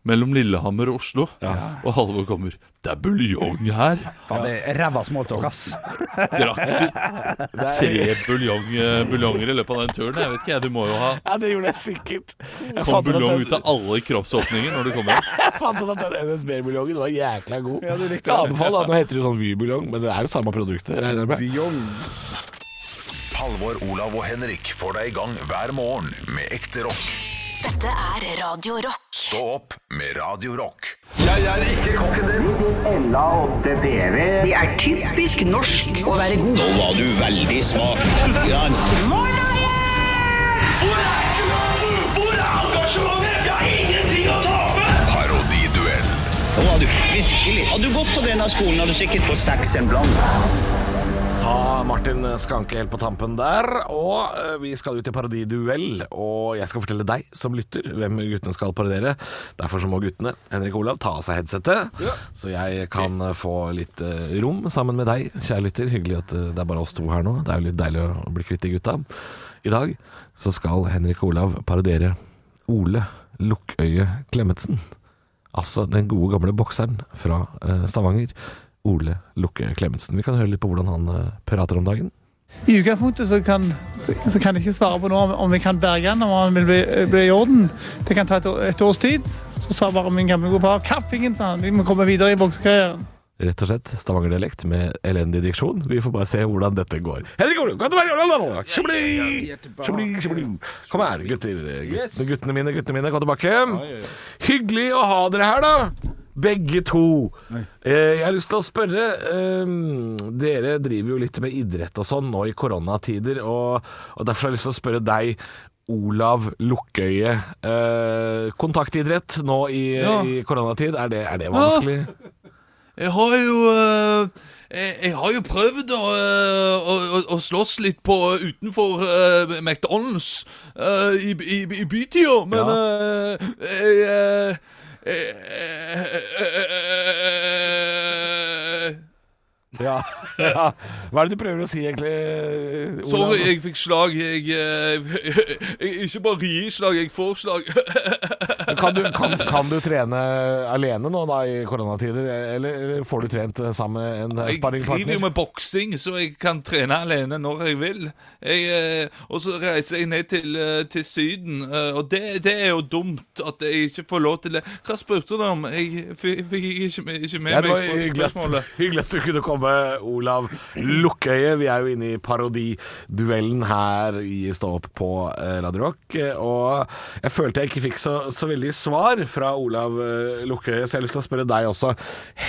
mellom Lillehammer og Oslo, og Halvor kommer 'Det er buljong her'. Faen, det er ræva smalltalk, ass. Drakk du tre buljong, eh, buljonger i løpet av den turen? Jeg vet ikke, jeg. Du må jo ha Ja, det gjorde jeg sikkert. Jeg Kom buljong ut av alle kroppsåpninger når du kommer hjem. Jeg fant ut at den NSB-buljongen var jækla god. Ja, du likte jeg anbefaler da. Nå heter det jo sånn Vy-buljong, men det er jo samme produktet. regner jeg med. Halvor, Olav og Henrik får deg i gang hver morgen med ekte rock. Dette er Radio Rock. Stå opp med Radio Rock. Det er typisk norsk å være god. Nå var du veldig smak. Hvor er engasjementet? Jeg har ingenting å tape! Parodiduell. Nå var du virkelig. Hadde du gått på denne skolen, hadde du sikkert fått seks en blant. Sa Martin Skanke helt på tampen der. Og eh, vi skal ut i parodiduell, og jeg skal fortelle deg som lytter hvem guttene skal parodiere. Derfor så må guttene, Henrik og Olav, ta av seg headsetet, så jeg kan eh, få litt eh, rom sammen med deg, kjære lytter. Hyggelig at eh, det er bare oss to her nå. Det er jo litt deilig å bli kvitt de gutta. I dag så skal Henrik og Olav parodiere Ole Lukkøye Klemetsen. Altså den gode gamle bokseren fra eh, Stavanger, Ole Lukke Klemetsen. Vi kan høre litt på hvordan han eh, prater om dagen. I utgangspunktet så kan, så, så kan jeg ikke svare på nå om, om vi kan berge han, om han vil bli, bli i orden. Det kan ta et, år- et års tid. Så sa bare min gamle gode far Kappingen, sa han. Vi må komme videre i boksekarrieren. Rett og slett Stavanger-dialekt med elendig diksjon. Vi får bare se hvordan dette går. Henrik Olum, kom tilbake! Kjabli! Kjabli, kjabli. Kom her, gutter. Guttene, guttene mine, guttene mine, kom tilbake. Hyggelig å ha dere her, da. Begge to. Eh, Jeg har lyst til å spørre eh, Dere driver jo litt med idrett og sånn nå i koronatider, og, og derfor har jeg lyst til å spørre deg, Olav Lukkøye. Eh, kontaktidrett nå i, Ja. i koronatid, er det, er det vanskelig? Jeg har jo eh, jeg, jeg har jo prøvd å, eh, å, å, å slåss litt på utenfor eh, McDonald's eh, i, i, i bytida, men eh, jeg, eh, jeg, eh, Ja. ja. Hva er det du prøver å si egentlig, Olav? Sorry, jeg fikk slag. Jeg, eh, jeg Ikke bare gir slag, jeg får slag. Kan du, kan, kan du trene alene nå da i koronatider, eller eller får du trent eh, sammen med en Jeg driver jo sparringpartner? med boksing, så jeg kan trene alene når jeg vil. Jeg, eh, og så reiser jeg ned til, eh, til Syden, eh, og det, det er jo dumt at jeg ikke får lov til det. Hva spurte du om? Jeg f- fikk ikke, med- ikke med Ja, det meg var hyggelig spørsmålet. at, hyggelig at du kunne komme, Olav Lukkøye. Vi er jo inne i parodiduellen her i Stå opp på eh, Radio Rock. eh, Og jeg følte jeg ikke fikk så, så veldig svar fra Olav eh, Lukkøye, så jeg har lyst til å spørre deg også.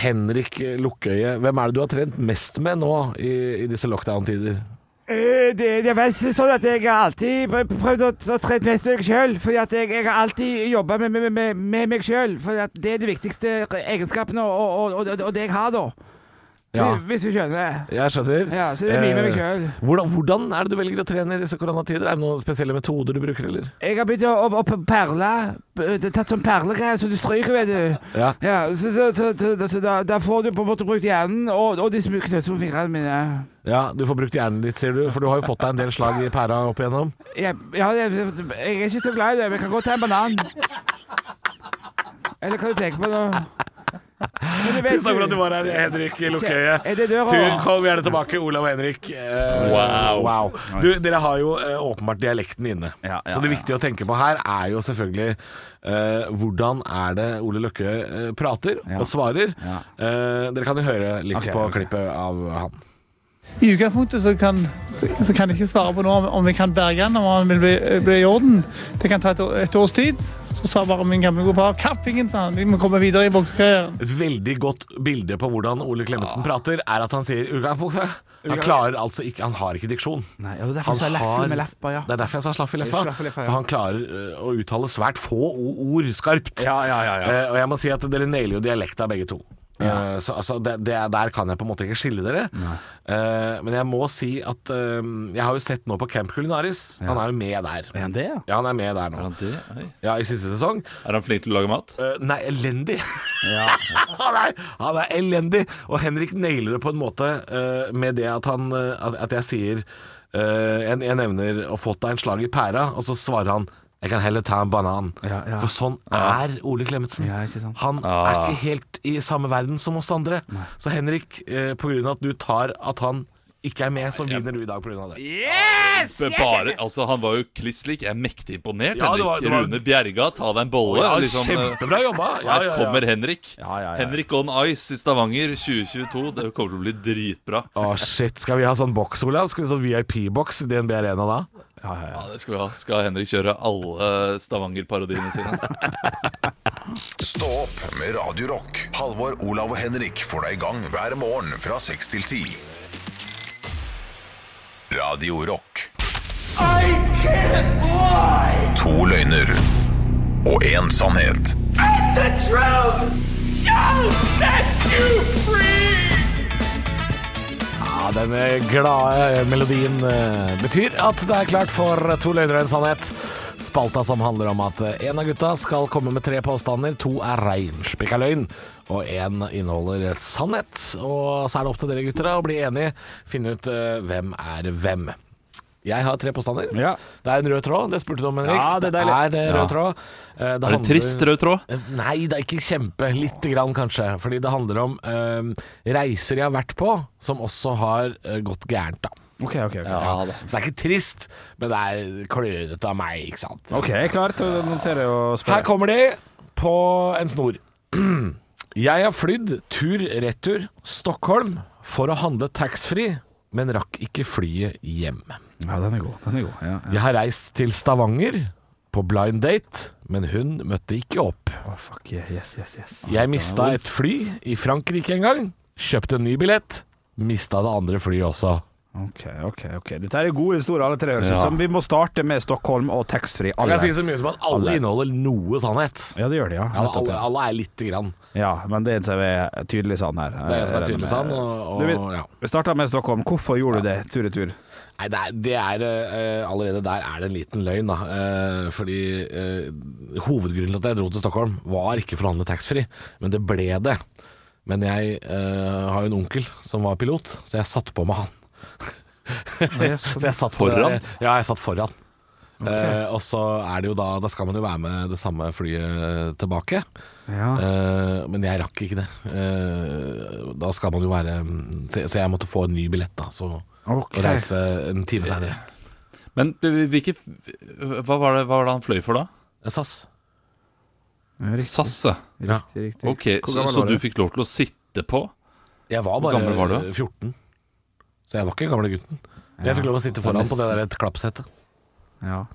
Henrik Lukkøye, hvem er det du har trent mest med nå i, i disse lockdown-tider? Eh, Det, det er vel sånn at jeg har alltid prøv- prøvd å, å trene mest meg sjøl. Fordi at jeg, jeg har alltid jobba med, med, med, med meg sjøl. For det er de viktigste egenskapene og, og, og, og, og det jeg har, da. Ja. Hvis du skjønner. Jeg skjønner. Ja, så det er mye med meg Eh, selv. Hvordan, hvordan er det du velger å trene i disse koronatider? Er det noen spesielle metoder du bruker, eller? Jeg har begynt å, å, å perle. B- Tatt sånn perlegreier som du stryker, vet du. Ja. så, så, så, så, så da, da får du på en måte brukt hjernen og, og de myke tøtsene på fingrene mine. Ja, du får brukt hjernen ditt, sier du, for du har jo fått deg en del slag i pæra opp igjennom. Jeg, ja, jeg, jeg er ikke så glad i det, men jeg kan godt ta en banan. Eller hva du tenker på nå? Men det vet Tusen takk for at du var her, Henrik Lukkøye. Er det døra? Du, kom gjerne tilbake, Olav og Henrik. Eh, Wow. Du, dere har jo eh, åpenbart dialekten inne. Ja, ja, så det ja. viktige å tenke på her er jo selvfølgelig eh, hvordan er det Ole Løkke eh, prater og svarer. Ja. Eh, dere kan jo høre litt Ok, på ok. klippet av han. I utgangspunktet så kan, så kan jeg ikke svare på noe om, om jeg kan berge han, om han vil bli, bli i orden. Det kan ta et, år- et års tid. Så sa bare min gamle gode far Kappingen, sa han. Vi må komme videre i boksekarrieren. Et veldig godt bilde på hvordan Ole Klemetsen prater, er at han sier utgangspunktet. Han klarer altså ikke Han har ikke diksjon. Nei, og det er derfor jeg sa leffe med leffa, ja. Det er derfor jeg sa slaff i leffa. Slaff i leffa, ja. For han klarer eh, å uttale svært få o- ord skarpt. Ja, ja, ja, ja. Eh, og jeg må si at dere nailer jo dialekta begge to. Eh, så altså, det, det, er- Der kan jeg på en måte ikke skille dere. Eh, men jeg må si at eh, jeg har jo sett nå på Camp Culinaris. Han er jo med der. Er han det, ja? Ja, han er med der nå. Ja, I siste sesong. Er han flink til å lage mat? Eh, nei, elendig. han, er, han er elendig. Og Henrik nailer det på en måte eh, med det at han eh, at, at jeg sier eh, jeg, jeg nevner å fått deg en slag i pæra, og så svarer han jeg kan heller ta en banan. Ja, ja. For sånn er Ole Klemetsen. Ja, ikke sant. Han er Ah. ikke helt i samme verden som oss andre. Så Henrik, eh, på grunn av at du tar at han ikke er med, så vinner du i dag pga. det. Men Bare, altså, han var jo kliss lik. Jeg er mektig imponert. Ja, det var- Henrik det var- Rune Bjerga, ta deg en bolle. Ja, liksom, eh, kjempebra jobba! Ja, Her ja, ja. kommer Henrik. Ja, ja, ja. Henrik on Ice i Stavanger 2022. Det kommer til å bli dritbra. Å, shit. Skal vi ha sånn boks, Olav? Skal vi ha sånn VIP-boks i DNB Arena da? Ja, det skal vi ha. Skal Henrik kjøre alle Stavanger-parodiene sine? Stå opp med Radio Rock. Halvor, Olav og Henrik får deg i gang hver morgen fra 6 til 10. Radio Rock. To løgner og én sannhet. Ja, denne glade melodien eh, betyr at det er klart for to løgner og en sannhet. Spalta som handler om at eh, en av gutta skal komme med tre påstander. To er reinspikka løgn, og én inneholder sannhet. Og så er det opp til dere gutter da, å bli enige, finne ut eh, hvem er hvem. Jeg har tre påstander. Ja. Det er en rød tråd, det spurte du om, Henrik. Ja, det er deilig. Det er eh, Ja. rød tråd. Eh, Det Er det en trist rød tråd? Eh, Nei, det er ikke kjempe. Lite grann, kanskje. Fordi det handler om eh, reiser jeg har vært på, som også har eh, gått gærent, da. OK, OK. ok. Så det er ikke trist, men det er klønete av meg, ikke sant. Ok, jeg er klar til å notere og Her spørre. kommer de på en snor. Jeg har flydd tur-retur Stockholm for å handle taxfree, men rakk ikke flyet hjem. Ja, den er god. Den er god. Ja, ja. Jeg har reist til Stavanger på blind date, men hun møtte ikke opp. Å, fuck yeah. Yes, yes, yes. Jeg mista et fly i Frankrike en gang, kjøpte en ny billett, mista det andre flyet også. Ok, ok, ok. Dette er gode historier, alle tre. høres ut Ja. som. Vi må starte med Stockholm og taxfree. Man alle. kan si så mye som at alle, Alle. inneholder noe sannhet. Ja, det gjør de, ja. Ja, Nettopp, alle, ja. alle er lite grann. ja men det er en som er tydelig sann her. Eh, Det er en som er tydelig sann, og, og Du, vi ja. vi starta med Stockholm. Hvorfor gjorde du det, tur-retur? Nei, det er, det er eh, allerede der er det en liten løgn, da. Eh, fordi eh, hovedgrunnen til at jeg dro til Stockholm, var ikke for å handle taxfree, men det ble det. Men jeg eh, har jo en onkel som var pilot, så jeg satte på med han. Så sånn. jeg satt på Foran? det- Ja, jeg satt foran. Eh, og så er det jo da Da skal man jo være med det samme flyet tilbake. Ja. Eh, men jeg rakk ikke det. Eh, da skal man jo være så, så jeg måtte få en ny billett, da. Så Ok. og reise en time seinere. Men eh, hvilke Hva var det, hva var det han fløy for, da? SAS. Riktig, SAS, ja. riktig. riktig. Ok, Hvor så, gammel så var du du? fikk lov til å sitte på? Jeg var Hvor bare gammel var du? 14, så jeg var ikke gamle gutten. Men jeg fikk lov å sitte foran på det der et klappsettet. Ja.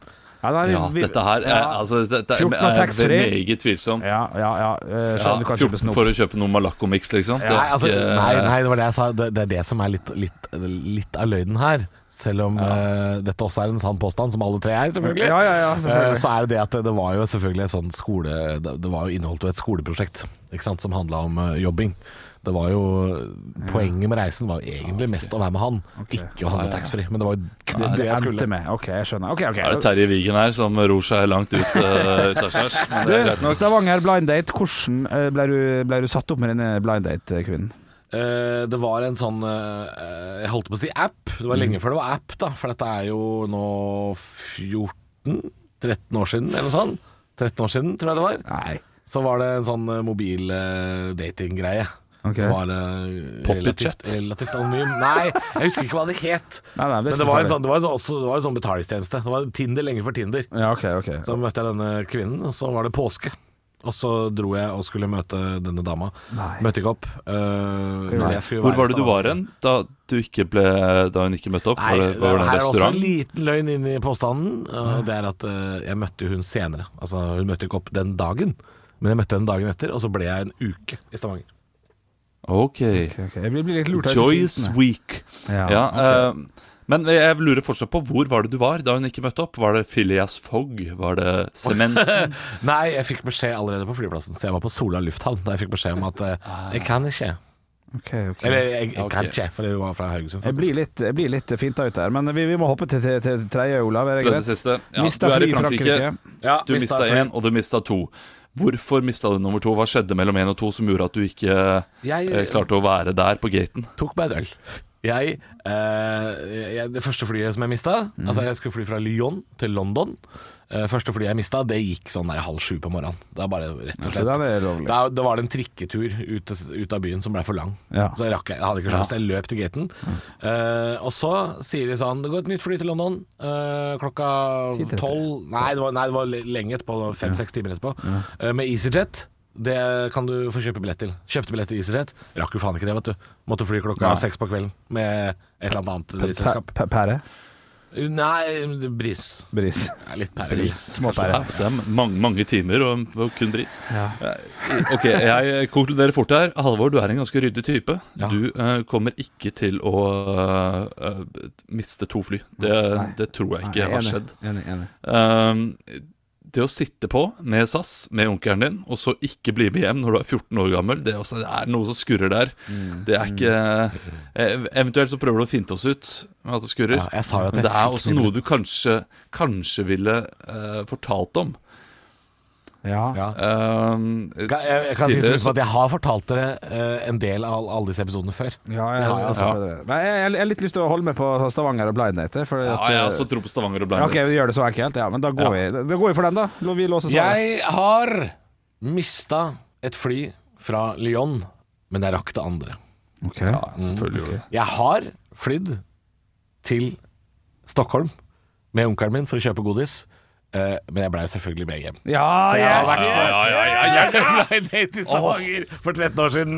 Ja, nei, Ja, vi- dette her er, ja. altså, dette er, 14 og er, taxfree. meget tvilsomt. Ja, ja, ja. eh, Ja, Skjønner kanskje 14 for å kjøpe noe Malaco-mix, liksom. Nei, altså, Det er ikke- nei, nei, det var det jeg sa. Det, det er det som er litt, litt, litt av løgnen her. Selv om eh, dette også er en sann påstand, som alle tre er, selvfølgelig. Ja, ja, ja, selvfølgelig. Eh, så er det det at det, det var jo selvfølgelig et sånn skole Det, det var jo inneholdt jo et skoleprosjekt ikke sant, som handla om eh, jobbing. Det var jo Poenget med reisen var jo egentlig mest å være med han, ikke å handle taxfree. Men det var jo kun det, Det jeg endte skulle. med. Ok, jeg skjønner. Ok, eh, Er det ok. Terje Vigen her som ror seg langt ut uh, utaskjærs? Men Du, det er greit nok. Stavanger blind date, hvordan eh, ble du, ble du satt opp med denne blind date-kvinnen? Eh, det var en sånn eh, Jeg holdt på å si app. Det var Mm. lenge før det var app, da. For dette er jo nå 14-13 år siden, eller noe sånt. 13 år siden, tror jeg det var. Nei. Så var det en sånn eh, mobil eh, dating-greie. Ok. Det var eh, Pocket relativt, chat? relativt anonym. Nei, jeg husker ikke hva det het. Nei, nei, Men det var en sånn, det var en sånn, også, det var en sånn betalingstjeneste. Det var Tinder lenge før Tinder. sånn- Ja, ok, ok. Så møtte jeg denne kvinnen, og så var det påske. Og så dro jeg og skulle møte denne dama. Nei. Møtte ikke opp. eh, men jeg skulle jo Hvor være i var det du Stavanger. var hen da, du ikke ble, da hun ikke møtte opp? Nei, var det, var det en her er også en restaurant? liten løgn inni påstanden. Og det er at eh, jeg møtte hun senere. Altså, hun møtte ikke opp den dagen, men jeg møtte henne dagen etter, og så ble jeg en uke i Stavanger. Ok. Ok, ok. Jeg blir- blir litt lurt av disse Joyce fintene. Week. Ja, Ja, eh, men jeg lurer fortsatt på hvor var det du var da hun ikke møtte opp? Var det Phileas Fogg? Var det Sementen? Nei, jeg fikk beskjed allerede på flyplassen, så jeg var på Sola lufthavn da jeg fikk beskjed om at eh, jeg kan ikke. ok, Ah. ok. Eller jeg, jeg Ok. kan ikke, for hun var fra Haugesund. Jeg faktisk. blir litt, jeg blir litt finta ut der, men vi, vi må hoppe til, til, til tredje, Olav. Er det Tredje greit? siste. Ja, Mista du er i fly i Frankrike. Frankrike. Ja, Du mistet mista fly. én, og du mista to. Hvorfor mista du nummer to? Hva skjedde mellom én og to som gjorde at du ikke Jeg- eh, klarte å være der på gaten? tok meg en øl. Jeg, eh, jeg, det første flyet som jeg mista Altså Jeg skulle fly fra Lyon til London. Eh, første flyet jeg mista, det gikk sånn der halv sju på morgenen. Det er bare rett og så slett den er lovlig. Da, da var det en trikketur ut, til- ut av byen som ble for lang. Ja. Så jeg rakk jeg hadde ikke sjans. Jeg løp til gaten. Eh, og så sier de sånn Det går et nytt fly til London eh, klokka til tolv nei, det var- nei, det var le- lenge etterpå. Fem-seks timer etterpå. Eh, med EasyJet. Det kan du få kjøpe billett til. Kjøpte billett til EasyJet. Rakk jo faen ikke det, vet du. Måtte fly klokka Nei. seks på kvelden med et eller annet Pæ- drittselskap. pæ- Pære? Nei, bris. Bris. Det er Litt pærebris. Småpære. Ja, det er mange, mange timer og, og kun bris. Eh, Ok, jeg konkluderer fort her. Halvor, du er en ganske ryddig type. Ja. Du eh, kommer ikke til å eh, eh, miste to fly. Det, det tror jeg ikke har skjedd. Enig, enig. Um, det å sitte på med SAS, med onkelen din, og så ikke bli med hjem når du er 14 år gammel, det er, også, det er noe som skurrer der. Mm. Det er ikke eh, Eventuelt så prøver du å finte oss ut med at det skurrer. Ja, jeg sa jo at Men jeg det er fikk også kniven. noe du kanskje, kanskje ville eh, fortalt om. Ja. Ja. Um, Kan- Jeg, jeg kan si så tidligere mye som at jeg har fortalt dere eh, en del av alle disse episodene før. Det Ja, jeg, har jeg, altså. jeg, jeg, jeg, jeg har litt lyst til å holde med på Stavanger og blind date. fordi Ja, at- jeg eh, har også tro på Stavanger og Ja, Ok, Blindern. vi gjør det så enkelt, ja. Men da går, vi, da går vi for den, da. Vi låser svaret. Jeg har mista et fly fra Lyon, men jeg rakk det andre. Ja, selvfølgelig gjorde du det. Jeg har flydd til Stockholm med onkelen min for å kjøpe godis. Eh, men jeg blei selvfølgelig med hjem. Ja, Så jeg har yes, vært ja, yes, ja, ja, ja, jeg ble date i Stavanger for 13 år siden.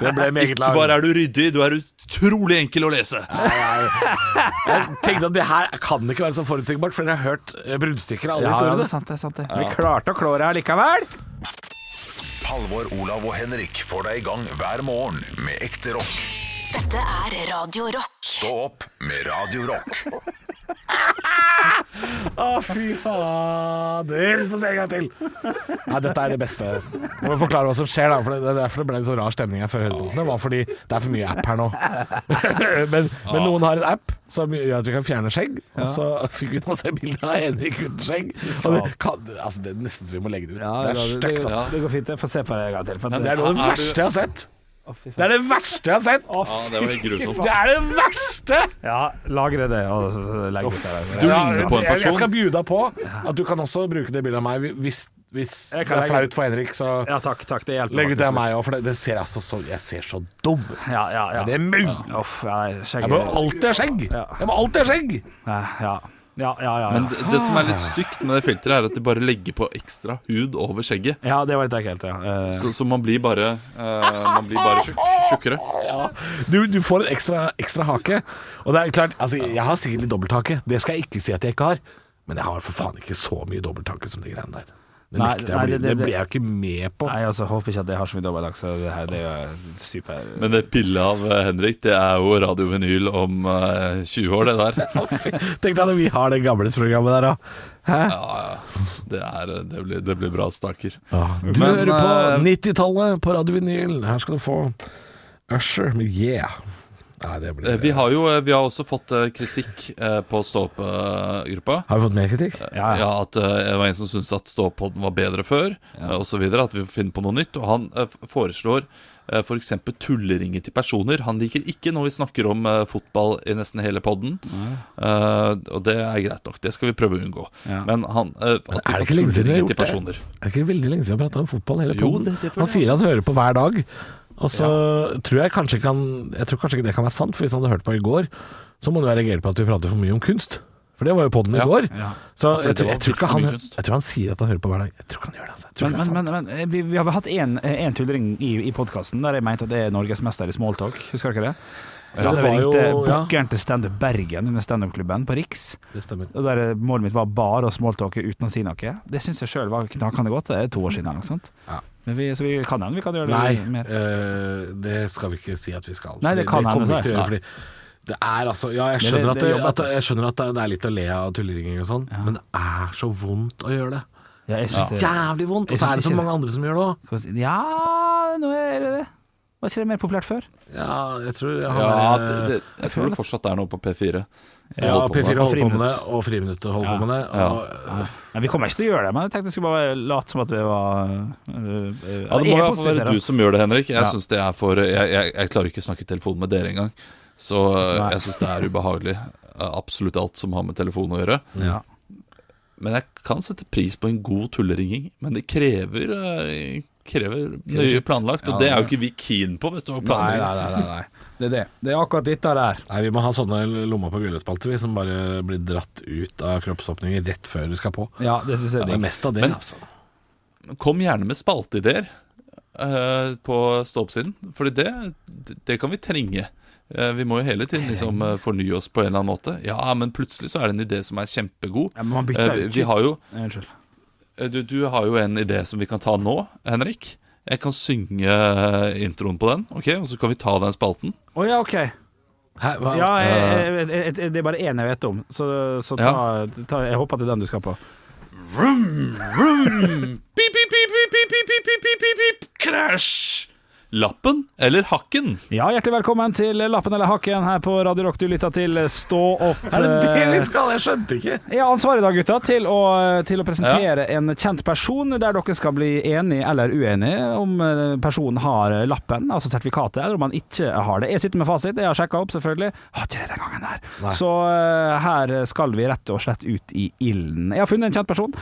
Det ble meget Ikke bare langt. er du ryddig, du er utrolig enkel å lese. Jeg tenkte at det her kan ikke være så forutsigbart, for dere har hørt eh, bruddstykker av alle Ja, ja, historiene. det er sant, det er sant det. Vi klarte å klå det her likevel. Halvor, Olav og Henrik får deg i gang hver morgen med ekte rock. Dette er Radio Rock. Stå opp med Radio Rock. Å, fy fader. Få se en gang til. Nei, dette er det beste. Må jo forklare hva som skjer, da. For det det er derfor det ble en så rar stemning her før høydepunktene. Var fordi det er for mye app her nå. men, men noen har en app som gjør at vi kan fjerne skjegg. Og så fikk vi nå se bilde av Henrik uten skjegg. Og det, kan, altså, det er nesten så vi må legge det ut. Ja, det er stygt, altså. Det går fint. Jeg får se på det en gang til. For Det er noe av det Er du- verste jeg har sett. Det er det verste jeg har sett! Ja, det var helt grusomt. Det er det verste! Ja, lagre det og så- så legg ut det der. Du ligner på en jeg- Jeg skal person. bjuda på at du kan også bruke det bildet av meg hvis, hvis det Jeg kan er legge- flaut for Henrik. Så Ja, takk, takk. Det hjelper. legg ut det av faktisk meg litt. òg, for det, det ser altså så Jeg ser så dum ut. Ja, ja, ja. Er det mulig? Uff, ja, nei, Jeg skjegget- må alltid ha skjegg! Jeg må alltid ha skjegg! Ja, ja. Ja, ja, ja, Men ja. det, det som er litt Ah. stygt med det filteret, er at de bare legger på ekstra hud over skjegget. ja, det var litt ekkelt, ja. Eh, Så, så man blir bare eh, Man blir bare tjukk, tjukkere. Du, du får en ekstra, ekstra hake. Og det er klart, altså, jeg har sikkert litt dobbelthake. Det skal jeg ikke si at jeg ikke har. Men jeg har for faen ikke så mye dobbelthake som de greiene der. Det Nei, nekter jeg nei, å bli. det- det- Det ble jeg jo ikke med på. Nei, altså, håper ikke at jeg har så mye dobbeltdag, så det her det er jo super Men det pillet av eh, Henrik, det er jo radiovenyl om eh, 20 år, det der. Tenk deg når vi har det gamle programmet der òg. Det, er, eh, det, blir, det blir bra, staker. Ah, Du Men, hører på eh, 90-tallet på Radio Vinyl. Her skal du få Usher med Yeah. Nei, det Eh, blir Vi har jo eh, vi har også fått eh, kritikk eh, på Ståpe-gruppa. Har vi fått mer kritikk? Ja, At eh, det var en som syntes at ståpodden var bedre før, eh, og så videre, At vi finner på noe nytt. Og han eh, f- foreslår eh, for f.eks. tulleringer til personer. Han liker ikke når vi snakker om eh, fotball i nesten hele podden. Eh, og det er greit nok, det skal vi prøve å unngå. Ja. Men han eh, er det at vi ikke får lenge siden vi har tulleringer gjort til personer. Det er ikke veldig lenge siden jeg prata om fotball hele Jo, poden. det- det føler Han jeg sier han hører på hver dag. Og så tror jeg kanskje ikke han Jeg tror kanskje ikke det kan være sant, for hvis han hadde hørt på i går, så må han jo ha reagert på at vi prater for mye om kunst. For det var jo podden i Ja. går. Ja. Så for jeg det tror, var jeg, tror ikke fryktelig han, mye kunst. jeg tror han sier at han hører på hver dag. Jeg tror ikke han gjør det. Altså. Jeg tror Men, ikke det er men, sant. men, men eh, vi, vi har hatt én tullering i, i podkasten der jeg mente at det er norgesmester i smalltalk, husker dere det? Ja, det det var jo- ringte ja. Bukkeren til Standup Bergen, denne standup-klubben på Riks. Det stemmer. Og der eh, Målet mitt var bare å smalltalke uten å si noe. Det syns jeg sjøl var knakende godt. Det er to år siden eller noe sånt. Ja. Men vi, så vi kan hende vi kan gjøre det Nei, mer. eh, det skal vi ikke si at vi skal. Nei, det Fordi kan det hende, kommer vi sa ikke til å gjøre. Fordi det er altså Ja, jeg Men det- skjønner at, det det, jobber at, jeg skjønner at det, det er litt å le av tulleringing og sånn, men det er så vondt å gjøre det. Ja, jeg synes Jævlig vondt! Og så er det så mange andre som gjør det òg. det Ja, nå er det det. Var ikke det mer populært før? Ja, jeg tror jeg Ja, har det, det, jeg tror det fortsatt er noe på P4. eh, som Ja, holder på med P4 det. holder på med det, og Friminuttet holder på med det. Og, Nei, vi kommer ikke til å gjøre det, men jeg tenkte jeg skulle bare late som at vi var øh, øh, Ja, Det jeg er må i hvert fall positiv til være du som gjør det, Henrik. Jeg Ja. synes det er for jeg, jeg, jeg klarer ikke å snakke i telefon med dere engang. Så Nei. jeg syns det er ubehagelig. eh, Absolutt alt som har med telefon å gjøre. Ja. Men jeg kan sette pris på en god tulleringing. Men det krever, eh, krever nøye planlagt, og det er jo ikke vi keen på, vet du. Å Nei, planlegge. nei, nei, nei, nei. Det er det. Det er akkurat dette der. Nei, Vi må ha sånne lomma på gulrotspalter vi, som bare blir dratt ut av kroppsåpninger rett før du skal på. Ja, det syns jeg Det er er digg. mest av det, Men- altså. Kom gjerne med spalteideer eh, på stå-opp-siden, for det, det kan vi trenge. Eh, Vi må jo hele tiden liksom eh, fornye oss på en eller annen måte. Ja, men plutselig så er det en idé som er kjempegod. Ja, men man bytter Eh, jo ikke- Vi har jo Unnskyld. Eh, Du, du har jo en idé som vi kan ta nå, Henrik. Jeg kan synge eh, introen på den, ok? og så kan vi ta den spalten. Å ja, OK. Hæ, hva? Ja, Eh, eh, jeg, jeg, jeg, jeg, det er bare én jeg vet om, så, så ta, ta, jeg håper at det er den du skal på. Pip, pip, pip, pip, pip, pip, pip, pip, pip, pip, pip. Krasj! Lappen eller hakken? Ja, hjertelig velkommen til Lappen eller hakken her på Radio Rock. Du lytter til Stå opp. Er det det vi eh, skal? Jeg skjønte ikke. Jeg har ansvaret i dag, gutta, til å, til å presentere en kjent person der dere skal bli enige eller uenige om eh, personen har lappen, altså sertifikatet, eller om han ikke har det. Jeg sitter med fasit, jeg har sjekka opp, selvfølgelig. Har ikke det den gangen her. Så eh, her skal vi rett og slett ut i ilden. Jeg har funnet en kjent person.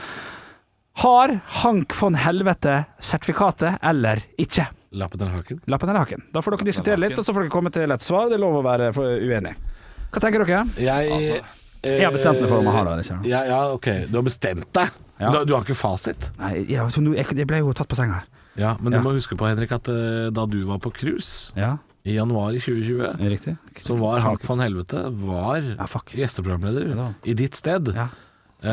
Har Hank von Helvete sertifikatet eller ikke? Lappen eller haken? Lappen eller haken? Da får dere diskutere litt, og så får dere komme til et svar. Det er lov å være for- uenig. Hva tenker dere? Jeg, Eh, Altså, Jeg har bestemt meg for om jeg har det eller ikke. Ja, ja, ok. Du har bestemt deg. Ja. Du, du har ikke fasit. Nei, jeg, så nå- jeg, jeg ble jo tatt på senga her. Ja, Men Ja. du må huske på, Henrik, at eh, da du var på cruise Ja, i januar i 2020 er det riktig? så var Hark van Helvete var gjesteprogramleder da. i ditt sted. Ja.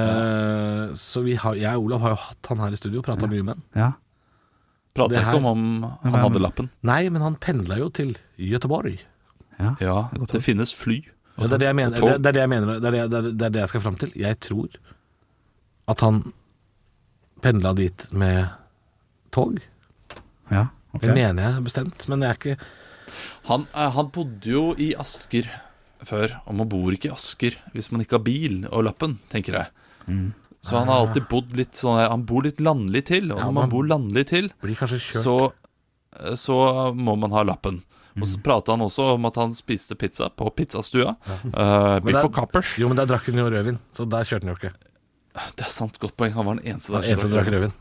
Eh, så vi har, jeg og Olav har jo hatt han her i studio og prata mye med han. Ja. Prater Det ikke om her- om han hadde lappen. Nei, men han pendla jo til Göteborg. Ja, det finnes fly. Ja, det, er det, jeg mener, Og tog. det, det er det jeg mener det er det, det, er, det er det jeg skal fram til. Jeg tror at han pendla dit med tog. Ja, ok. Det mener jeg bestemt, men jeg er ikke Han, eh, han bodde jo i Asker før, og man bor ikke i Asker hvis man ikke har bil og lappen, tenker jeg. Mm. Så han har alltid bodd litt sånn her- Han bor litt landlig til, og når man man bor landlig til, Blir kanskje kjørt så, eh, så må man ha lappen. Og så prata han også om at han spiste pizza på pizzastua. Eh, Men Biff der- og Kappers. Jo, men der drakk hun jo rødvin, så der kjørte han jo ikke. Det er sant, godt poeng. Han var den eneste Den der. eneste som drakk rødvin.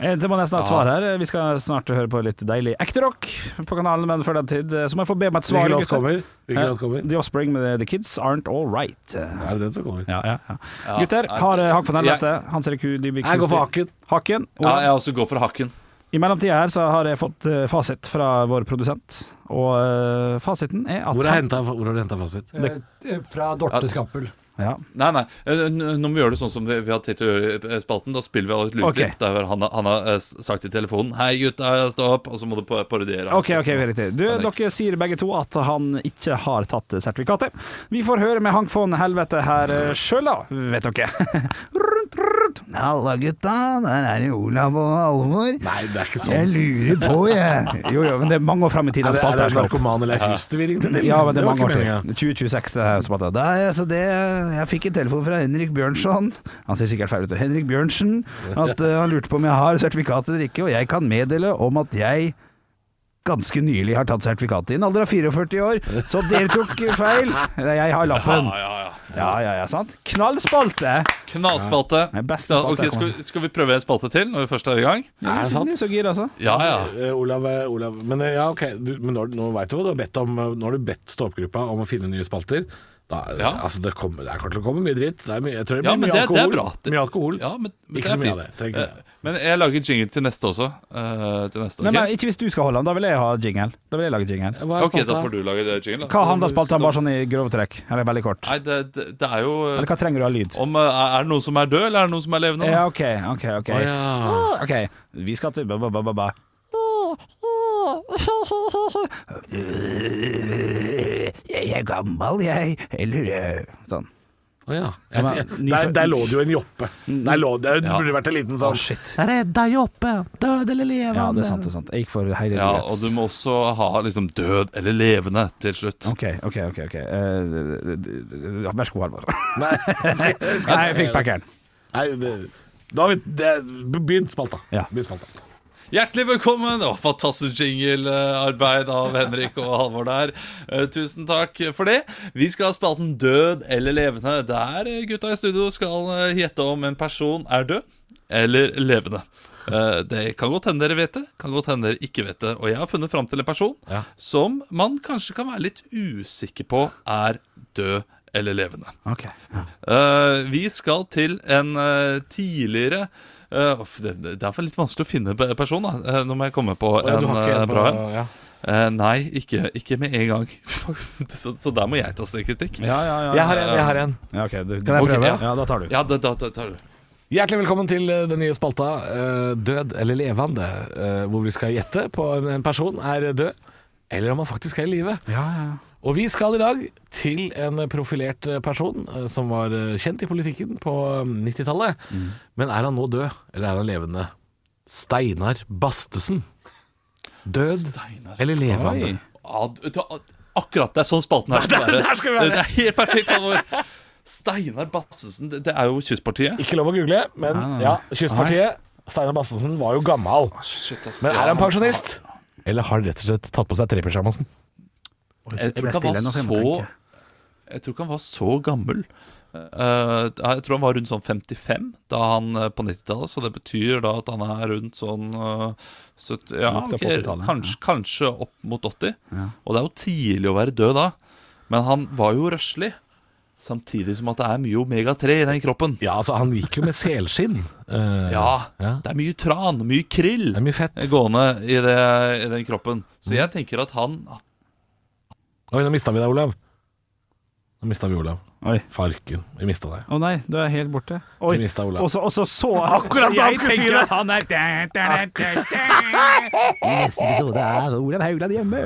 Eh, Det må nesten ha et svar her. Vi skal snart høre på litt deilig ekte rock på kanalen, men før den tid eh, så må jeg få be meg et svar. Hvilken låt gutter. kommer? Hvilken låt Eh, kommer? The Offspring med The Kids Aren't All Right. Eh, Er det den som kommer? Ja, ja, ja. Ja, Gutter, jeg- har eh, Hakk for jeg- helvete. Hans Erik Hu, Dybvik Jeg går for Husby. Haken. Haken. Og Ja, jeg også går for hakken. I mellomtida her så har jeg fått eh, fasit fra vår produsent, og eh, fasiten er at Hvor har hentet- hvor har du henta fasit? Fra Dorte Skampel. Ja. Nei, nei, eh, n- nå må vi gjøre det sånn som vi vi har tenkt å gjøre i eh, spalten. Da spiller vi av et Ok. lydklipp der hvor han, har- han har eh, s- sagt i telefonen 'Hei, gutta, stå opp', og så må du pa- parodiere. OK, ok, riktig. Du, dere sier begge to at han ikke har tatt sertifikatet. Vi får høre med Hank von Helvete her eh, sjøl, da, vet dere. Rundt, rundt. Halla, gutta. Der er det Olav og Alvor. Nei, det er ikke sånn. Jeg lurer på, jeg. Jo, jo, men det er mange år fram i tid. Er den det, er spalten det her skal opp. narkoman eller Fust vi ringte til? Ja, men det er var mange år ikke til. meningen. 2026, det her spalten. Da, er jeg- altså det, jeg fikk en telefon fra Henrik Bjørnson. Han ser sikkert feil ut. Henrik Bjørnsen. At eh, han lurte på om jeg har sertifikatet eller ikke, og jeg kan meddele om at jeg ganske nylig har tatt sertifikatet i en alder av 44 år, så dere tok feil. Nei, Jeg har lappen. Ja, ja, ja. Ja, ja, ja, sant. Knallspalte! Knallspalte. Nei, beste Ja, spalte ok, jeg skal, vi- skal vi prøve en spalte til når vi først er i gang? Er det sant? Så gira, altså. Ja, ja. Eh, Olav, eh, Olav, men eh, ja, ok du, men nå, nå vet du hva du har bedt om eh, Nå har du bedt ståpgruppa om å finne nye spalter da, Ja. altså, det, kommer, det er klart til å komme mye dritt det er mye, Jeg tror det blir Ja, men mye det, det er alkohol, bra. Det- mye alkohol. Ja, men, men Ikke det så er mye av fint. det, trenger ikke Eh, Men jeg lager jingle til neste også. eh, til neste, Nei, ok? men Ikke hvis du skal holde den, da vil jeg ha jingle. Da vil jeg lage jingle. Hva er ok, da spalta? får du lage det jingle. da. Hva handler spalten bare sånn i grove trekk? Eller veldig kort? Nei, det, det, det er jo eh, Eller hva trenger du av lyd? om eh, Er det noen som er død, eller er det noen som er levende? Ja, OK, OK. ok Å, ja. Ok, vi skal til ba, ba, ba, ba, ba. Jeg er gammel, jeg. Eller eh, Sånn. Å, ja. Jeg, jeg, men, der, der lå det jo en joppe Der, lå, der burde det vært en liten sånn shit. Redda joppe, død eller levende Ja, det er sant. det er sant Jeg gikk for hele Ja, livets. og du må også ha liksom død eller levende til slutt. OK, OK. ok, ok Eh, d- d- ja, Vær så god, Halvor. Nei, skal- skal- Nei, jeg fikk packeren. Nei, det, da har vi det, Begynt spalta Ja. Begynt spalta Hjertelig velkommen! Det var fantastisk jinglearbeid av Henrik og Halvor der. Eh, Tusen takk for det. Vi skal ha spalten Død eller levende, der eh, gutta i studio skal eh, gjette om en person er død eller levende. Eh, Det kan godt hende dere vet det, kan godt hende dere ikke vet det. Og jeg har funnet fram til en person som man kanskje kan være litt usikker på er død eller levende. Ok ja. Eh, vi skal til en eh, tidligere eh, uff, det, det er for litt vanskelig å finne pe- person, da. Eh, nå må jeg komme på Å, ja, en du har ikke eh, en på- bra en. ja. Eh, nei, ikke, ikke med en gang. så, så der må jeg ta selvkritikk. Ja, ja, ja. Jeg har en, jeg har en ja ok, du, Kan jeg ok, prøve? Ja. ja, da tar du. Ja, da, da, da tar du. Hjertelig velkommen til eh, den nye spalta eh, Død eller levende, eh, hvor vi skal gjette på om en person er død, eller om han faktisk er i live. Ja, ja. Og vi skal i dag til en profilert eh, person eh, som var eh, kjent i politikken på eh, 90-tallet. Mm. Men er han nå død, eller er han levende? Steinar Bastesen. Død Steinar eller levende? Oi. Ja, du- du- Akkurat det er sånn spalten her skal være. Det, det er helt perfekt, Halvor. Steinar Bassesen, det, det er jo Kystpartiet. Ikke lov å google, men ja, Kystpartiet. Steinar Bastesen var jo gammel. Ah, Shit, ass. Men er Ja. han pensjonist? Eller har han rett og slett tatt på seg trepysjamasen? Jeg tror ikke stille han nå, var så jeg må så tenke. Jeg tror ikke han var så gammel. Eh, jeg tror han var rundt sånn 55 da han eh, på 90-tallet, så det betyr da at han er rundt sånn eh, 70, ja, Litt opp ok, 80-tallet, kanskje, kanskje opp mot 80. Og det er jo tidlig å være død da, men han var jo røslig. Samtidig som at det er mye omega-3 i den kroppen. Ja, altså Han gikk jo med selskinn. ja, Det er mye tran, mye krill Det er mye fett. gående i, det, i den kroppen. Så jeg tenker at han Oi, nå mista vi deg, Olav. Nå mista vi Olav. Oi. Farken. Vi mista deg. Å nei, du er helt borte. Oi. Vi mistet Olav. Og så, og så, så Akkurat så da han jeg skulle si tenker det. at Han er I neste episode er Olav Haugland hjemme.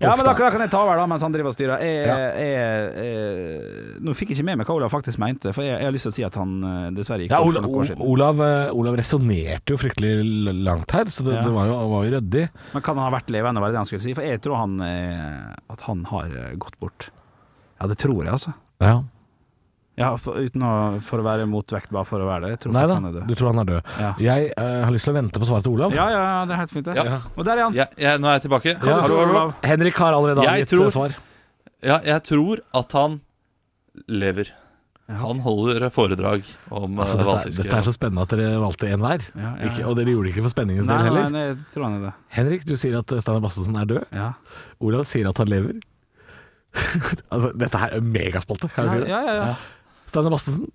Ja, men da, da kan jeg ta over da mens han driver og styrer. Jeg, jeg, jeg, nå fikk jeg ikke med meg hva Olav faktisk mente, for jeg, jeg har lyst til å si at han eh, dessverre gikk Ja, bort Olav, for noen år siden. Olav, eh, Olav resonnerte jo fryktelig l- langt her, så det, Ja. det var jo, var jo ryddig. Men kan han ha vært levende, var det det han skulle si? For jeg tror han, eh, at han har eh, gått bort. Ja, det tror jeg, altså. Ja. Ja, for, uten å, for å være motvekt, bare for å være det. Jeg tror Nei da, faktisk han er død. du tror han er død. Jeg eh, har lyst til å vente på svaret til Olav. Ja, ja, ja, det er helt fint, det. Ja. Og der er han. Ja, jeg, Nå er jeg tilbake. Ja. Hallo, hallo. Henrik har allerede Jeg avgitt tror- eh, svar. Ja, jeg tror at han lever. Han holder foredrag om Altså, eh, dette, er- hvalfiske. dette er så spennende at dere valgte én hver, Ja, ja, Ikke- ja. og dere gjorde det ikke for spenningens del Nei, nei, heller. nei, jeg tror han er det. Henrik, du sier at eh, Steinar Bastesen er død. Ja. Olav sier at han lever. altså, dette her er megaspolte, kan jeg si det? Ja, ja, ja. Steinar Bastesen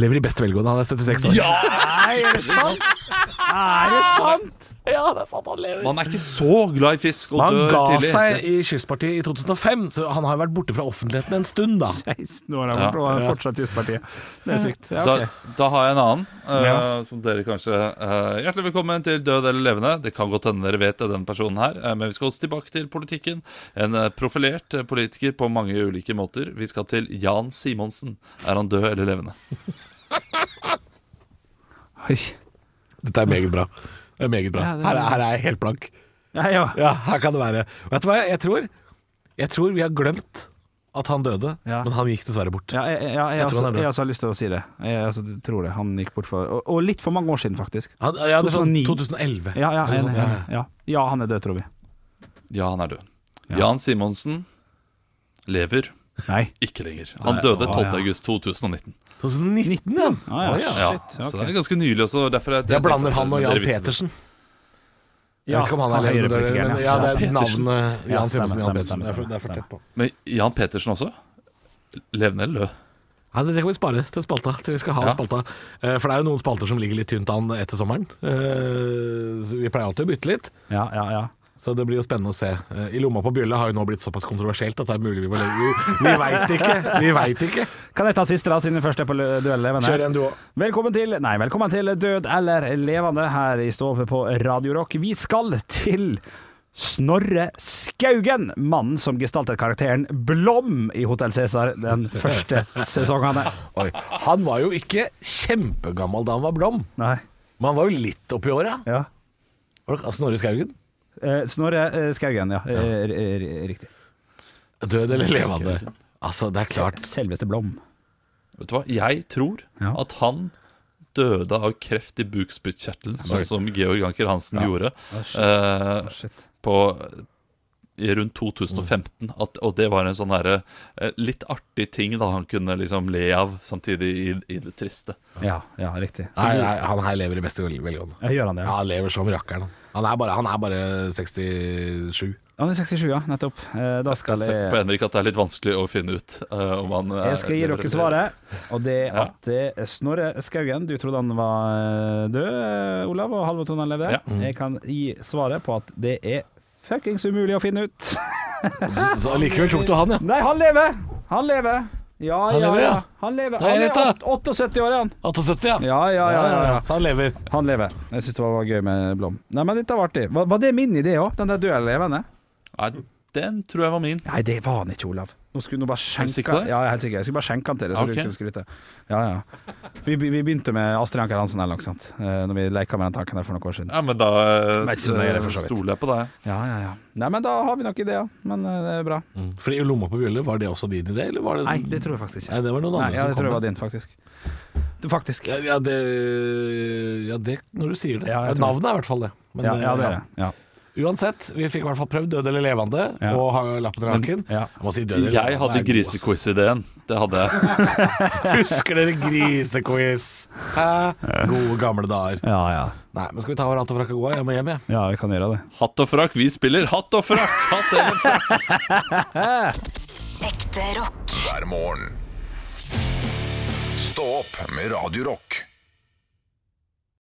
lever i best velgående, han er 76 år. Ja! Nei, er det sant? Er det sant? Ja, det er sant han lever. Man er ikke så glad i fisk og Han dør ga tidlig. seg i Kystpartiet i 2005, så han har jo vært borte fra offentligheten en stund, da. 16 år har vært og er fortsatt Kystpartiet. Det er sykt. Ja, Da, ok. da har jeg en annen, eh, Ja. som dere kanskje eh, Hjertelig velkommen til Død eller levende. Det kan godt hende dere vet det, den personen her, eh, men vi skal også tilbake til politikken. En eh, profilert eh, politiker på mange ulike måter. Vi skal til Jan Simonsen. Er han død eller levende? Oi. Dette er meget bra. Det er meget bra. Ja, det er- Her, er, her er jeg helt blank. Ja, ja. Ja, her kan det være. Vet du hva jeg tror? Jeg tror vi har glemt at han døde, Ja. men han gikk dessverre bort. Ja, jeg, jeg, jeg, Jeg tror også, han er død. jeg også har lyst til å si det. Jeg altså, tror det. Han gikk bort for og, og litt for mange år siden, faktisk. Han, ja, det var 2009. 2011. Ja, ja, Eller jeg, sånn, ja, ja. ja han er død, tror vi. Ja, han er død. Jan Simonsen lever Nei. ikke lenger. Han Nei, døde å, 12. ja. august 2019. 2019, ja. Ah, ja. Å, ja. Ja, Shit, Så ok. det er ganske nylig også. Derfor jeg, Jeg blander tenkte at han og dere Jan visste det. Petersen. Jeg Ja, vet ikke om han han er er levende, høyrepolitikeren, men ja. ja, det er Jan Petersen. navnet Ja, Jan Simonsen og Jan stemmer, stemmer, Petersen. Det er stemmer, for- det er for tett på. Men Jan Petersen også? Levende eller død? Nei, det kan vi spare til spalta, til vi skal ha Ja. spalta. Eh, For det er jo noen spalter som ligger litt tynt an etter sommeren. Eh, så Vi pleier alltid å bytte litt, Ja, ja, ja. så det blir jo spennende å se. Eh, I lomma på bjølle har jo nå blitt såpass kontroversielt at det er mulig vi må legge Vi, vi veit ikke. Vi vet ikke. Kan jeg ta siste, da, siden vi først er på lø- duell? Even? Kjør en, du òg. Velkommen til Nei, velkommen til Død eller levende her i Ståpe på Radio Rock. Vi skal til Snorre Skaugen, mannen som gestaltet karakteren Blom i Hotell Cæsar den første sesongen. Oi. Han var jo ikke kjempegammel da han var blom, Nei. men han var jo litt oppi åra. Ja. Var det Snorre Skaugen? Eh, Snorre eh, Skaugen, ja. Eh, r- r- riktig. Død eller Snorre levende? Skaugen. Altså, det er klart. Selveste Blom. Vet du hva? Jeg tror Ja. at han døde av kreft i bukspyttkjertelen, sånn som Georg Anker Hansen gjorde eh, på i rundt 2015. At, og det var en sånn derre eh, litt artig ting da han kunne liksom le av samtidig i, i det triste. Ja, ja, riktig. Så Nei, du- nei, han her lever i beste vel- velgående. Ja, gjør han det? Ja, han lever som rakkeren. han. Han er bare, han er bare 67. Han er 67, ja. Nettopp. Eh, Da skal Jeg ser jeg på Henrik at det er litt vanskelig å finne ut eh, om han eh, Jeg skal gi lever dere eller- svaret, og det Ja. at det er Snorre Skaugen Du trodde han var eh, død, eh, Olav, og Halvor Tondan levde. Ja. Jeg kan gi svaret på at det er fuckings umulig å finne ut. Så allikevel tok du han, ja. Nei, han lever! Han lever. Ja, Han ja, lever, ja. ja. Han lever. Da er Han jeg er rett, åt- 78 år, han. 78, ja. Ja, ja, ja. ja, ja. Så han lever. Han lever. Jeg syns det var gøy med Blom. Nei, men dette var artig. Var, var det min idé òg? Den der døde levende? Nei, den tror jeg var min. Nei, det var han ikke, Olav. Nå skulle du bare du sikker skjenke på det? Ja, jeg er helt sikker. Jeg skulle bare skjenke han til deg, så Ok. du kunne skryte. Ja, ja. Vi, vi vi begynte med Astrid Anker Hansen eller noe sånt, eh, Når vi leka med den tanken der for noen år siden. Ja, men da eh, Det er ikke så nøye, det, for så vidt. stoler jeg på deg. Ja, ja, ja. Nei, men da har vi nok ideer. Men eh, det er bra. Fordi i lomma på bjølle, var det også din idé, eller var det Nei, det tror jeg faktisk ikke. Nei, det var noen Nei, andre ja, som det tror jeg kom var din, faktisk. Du, faktisk. Ja, Ja, ja, det, ja, det Når du sier det. Ja, jeg tror- Navnet er i hvert fall det. Men, ja, det eh, er det. Ja. Uansett, vi fikk i hvert fall prøvd død eller levende, Ja. og har lappen i ranken. Ja. Jeg, må si død eller Jeg levende er hadde god, ass. grisequiz-ideen. Det hadde jeg. Husker dere grisequiz? Hæ? Gode gamle dager. Ja, ja. Nei, men skal vi ta vår hatt og frakk og gå? Jeg må hjem, jeg. Ja, vi kan gjøre det. Hatt og frakk, vi spiller hatt og frakk! Hatt eller frakk. Ekte rock. hver morgen. Stå opp med Radio Rock.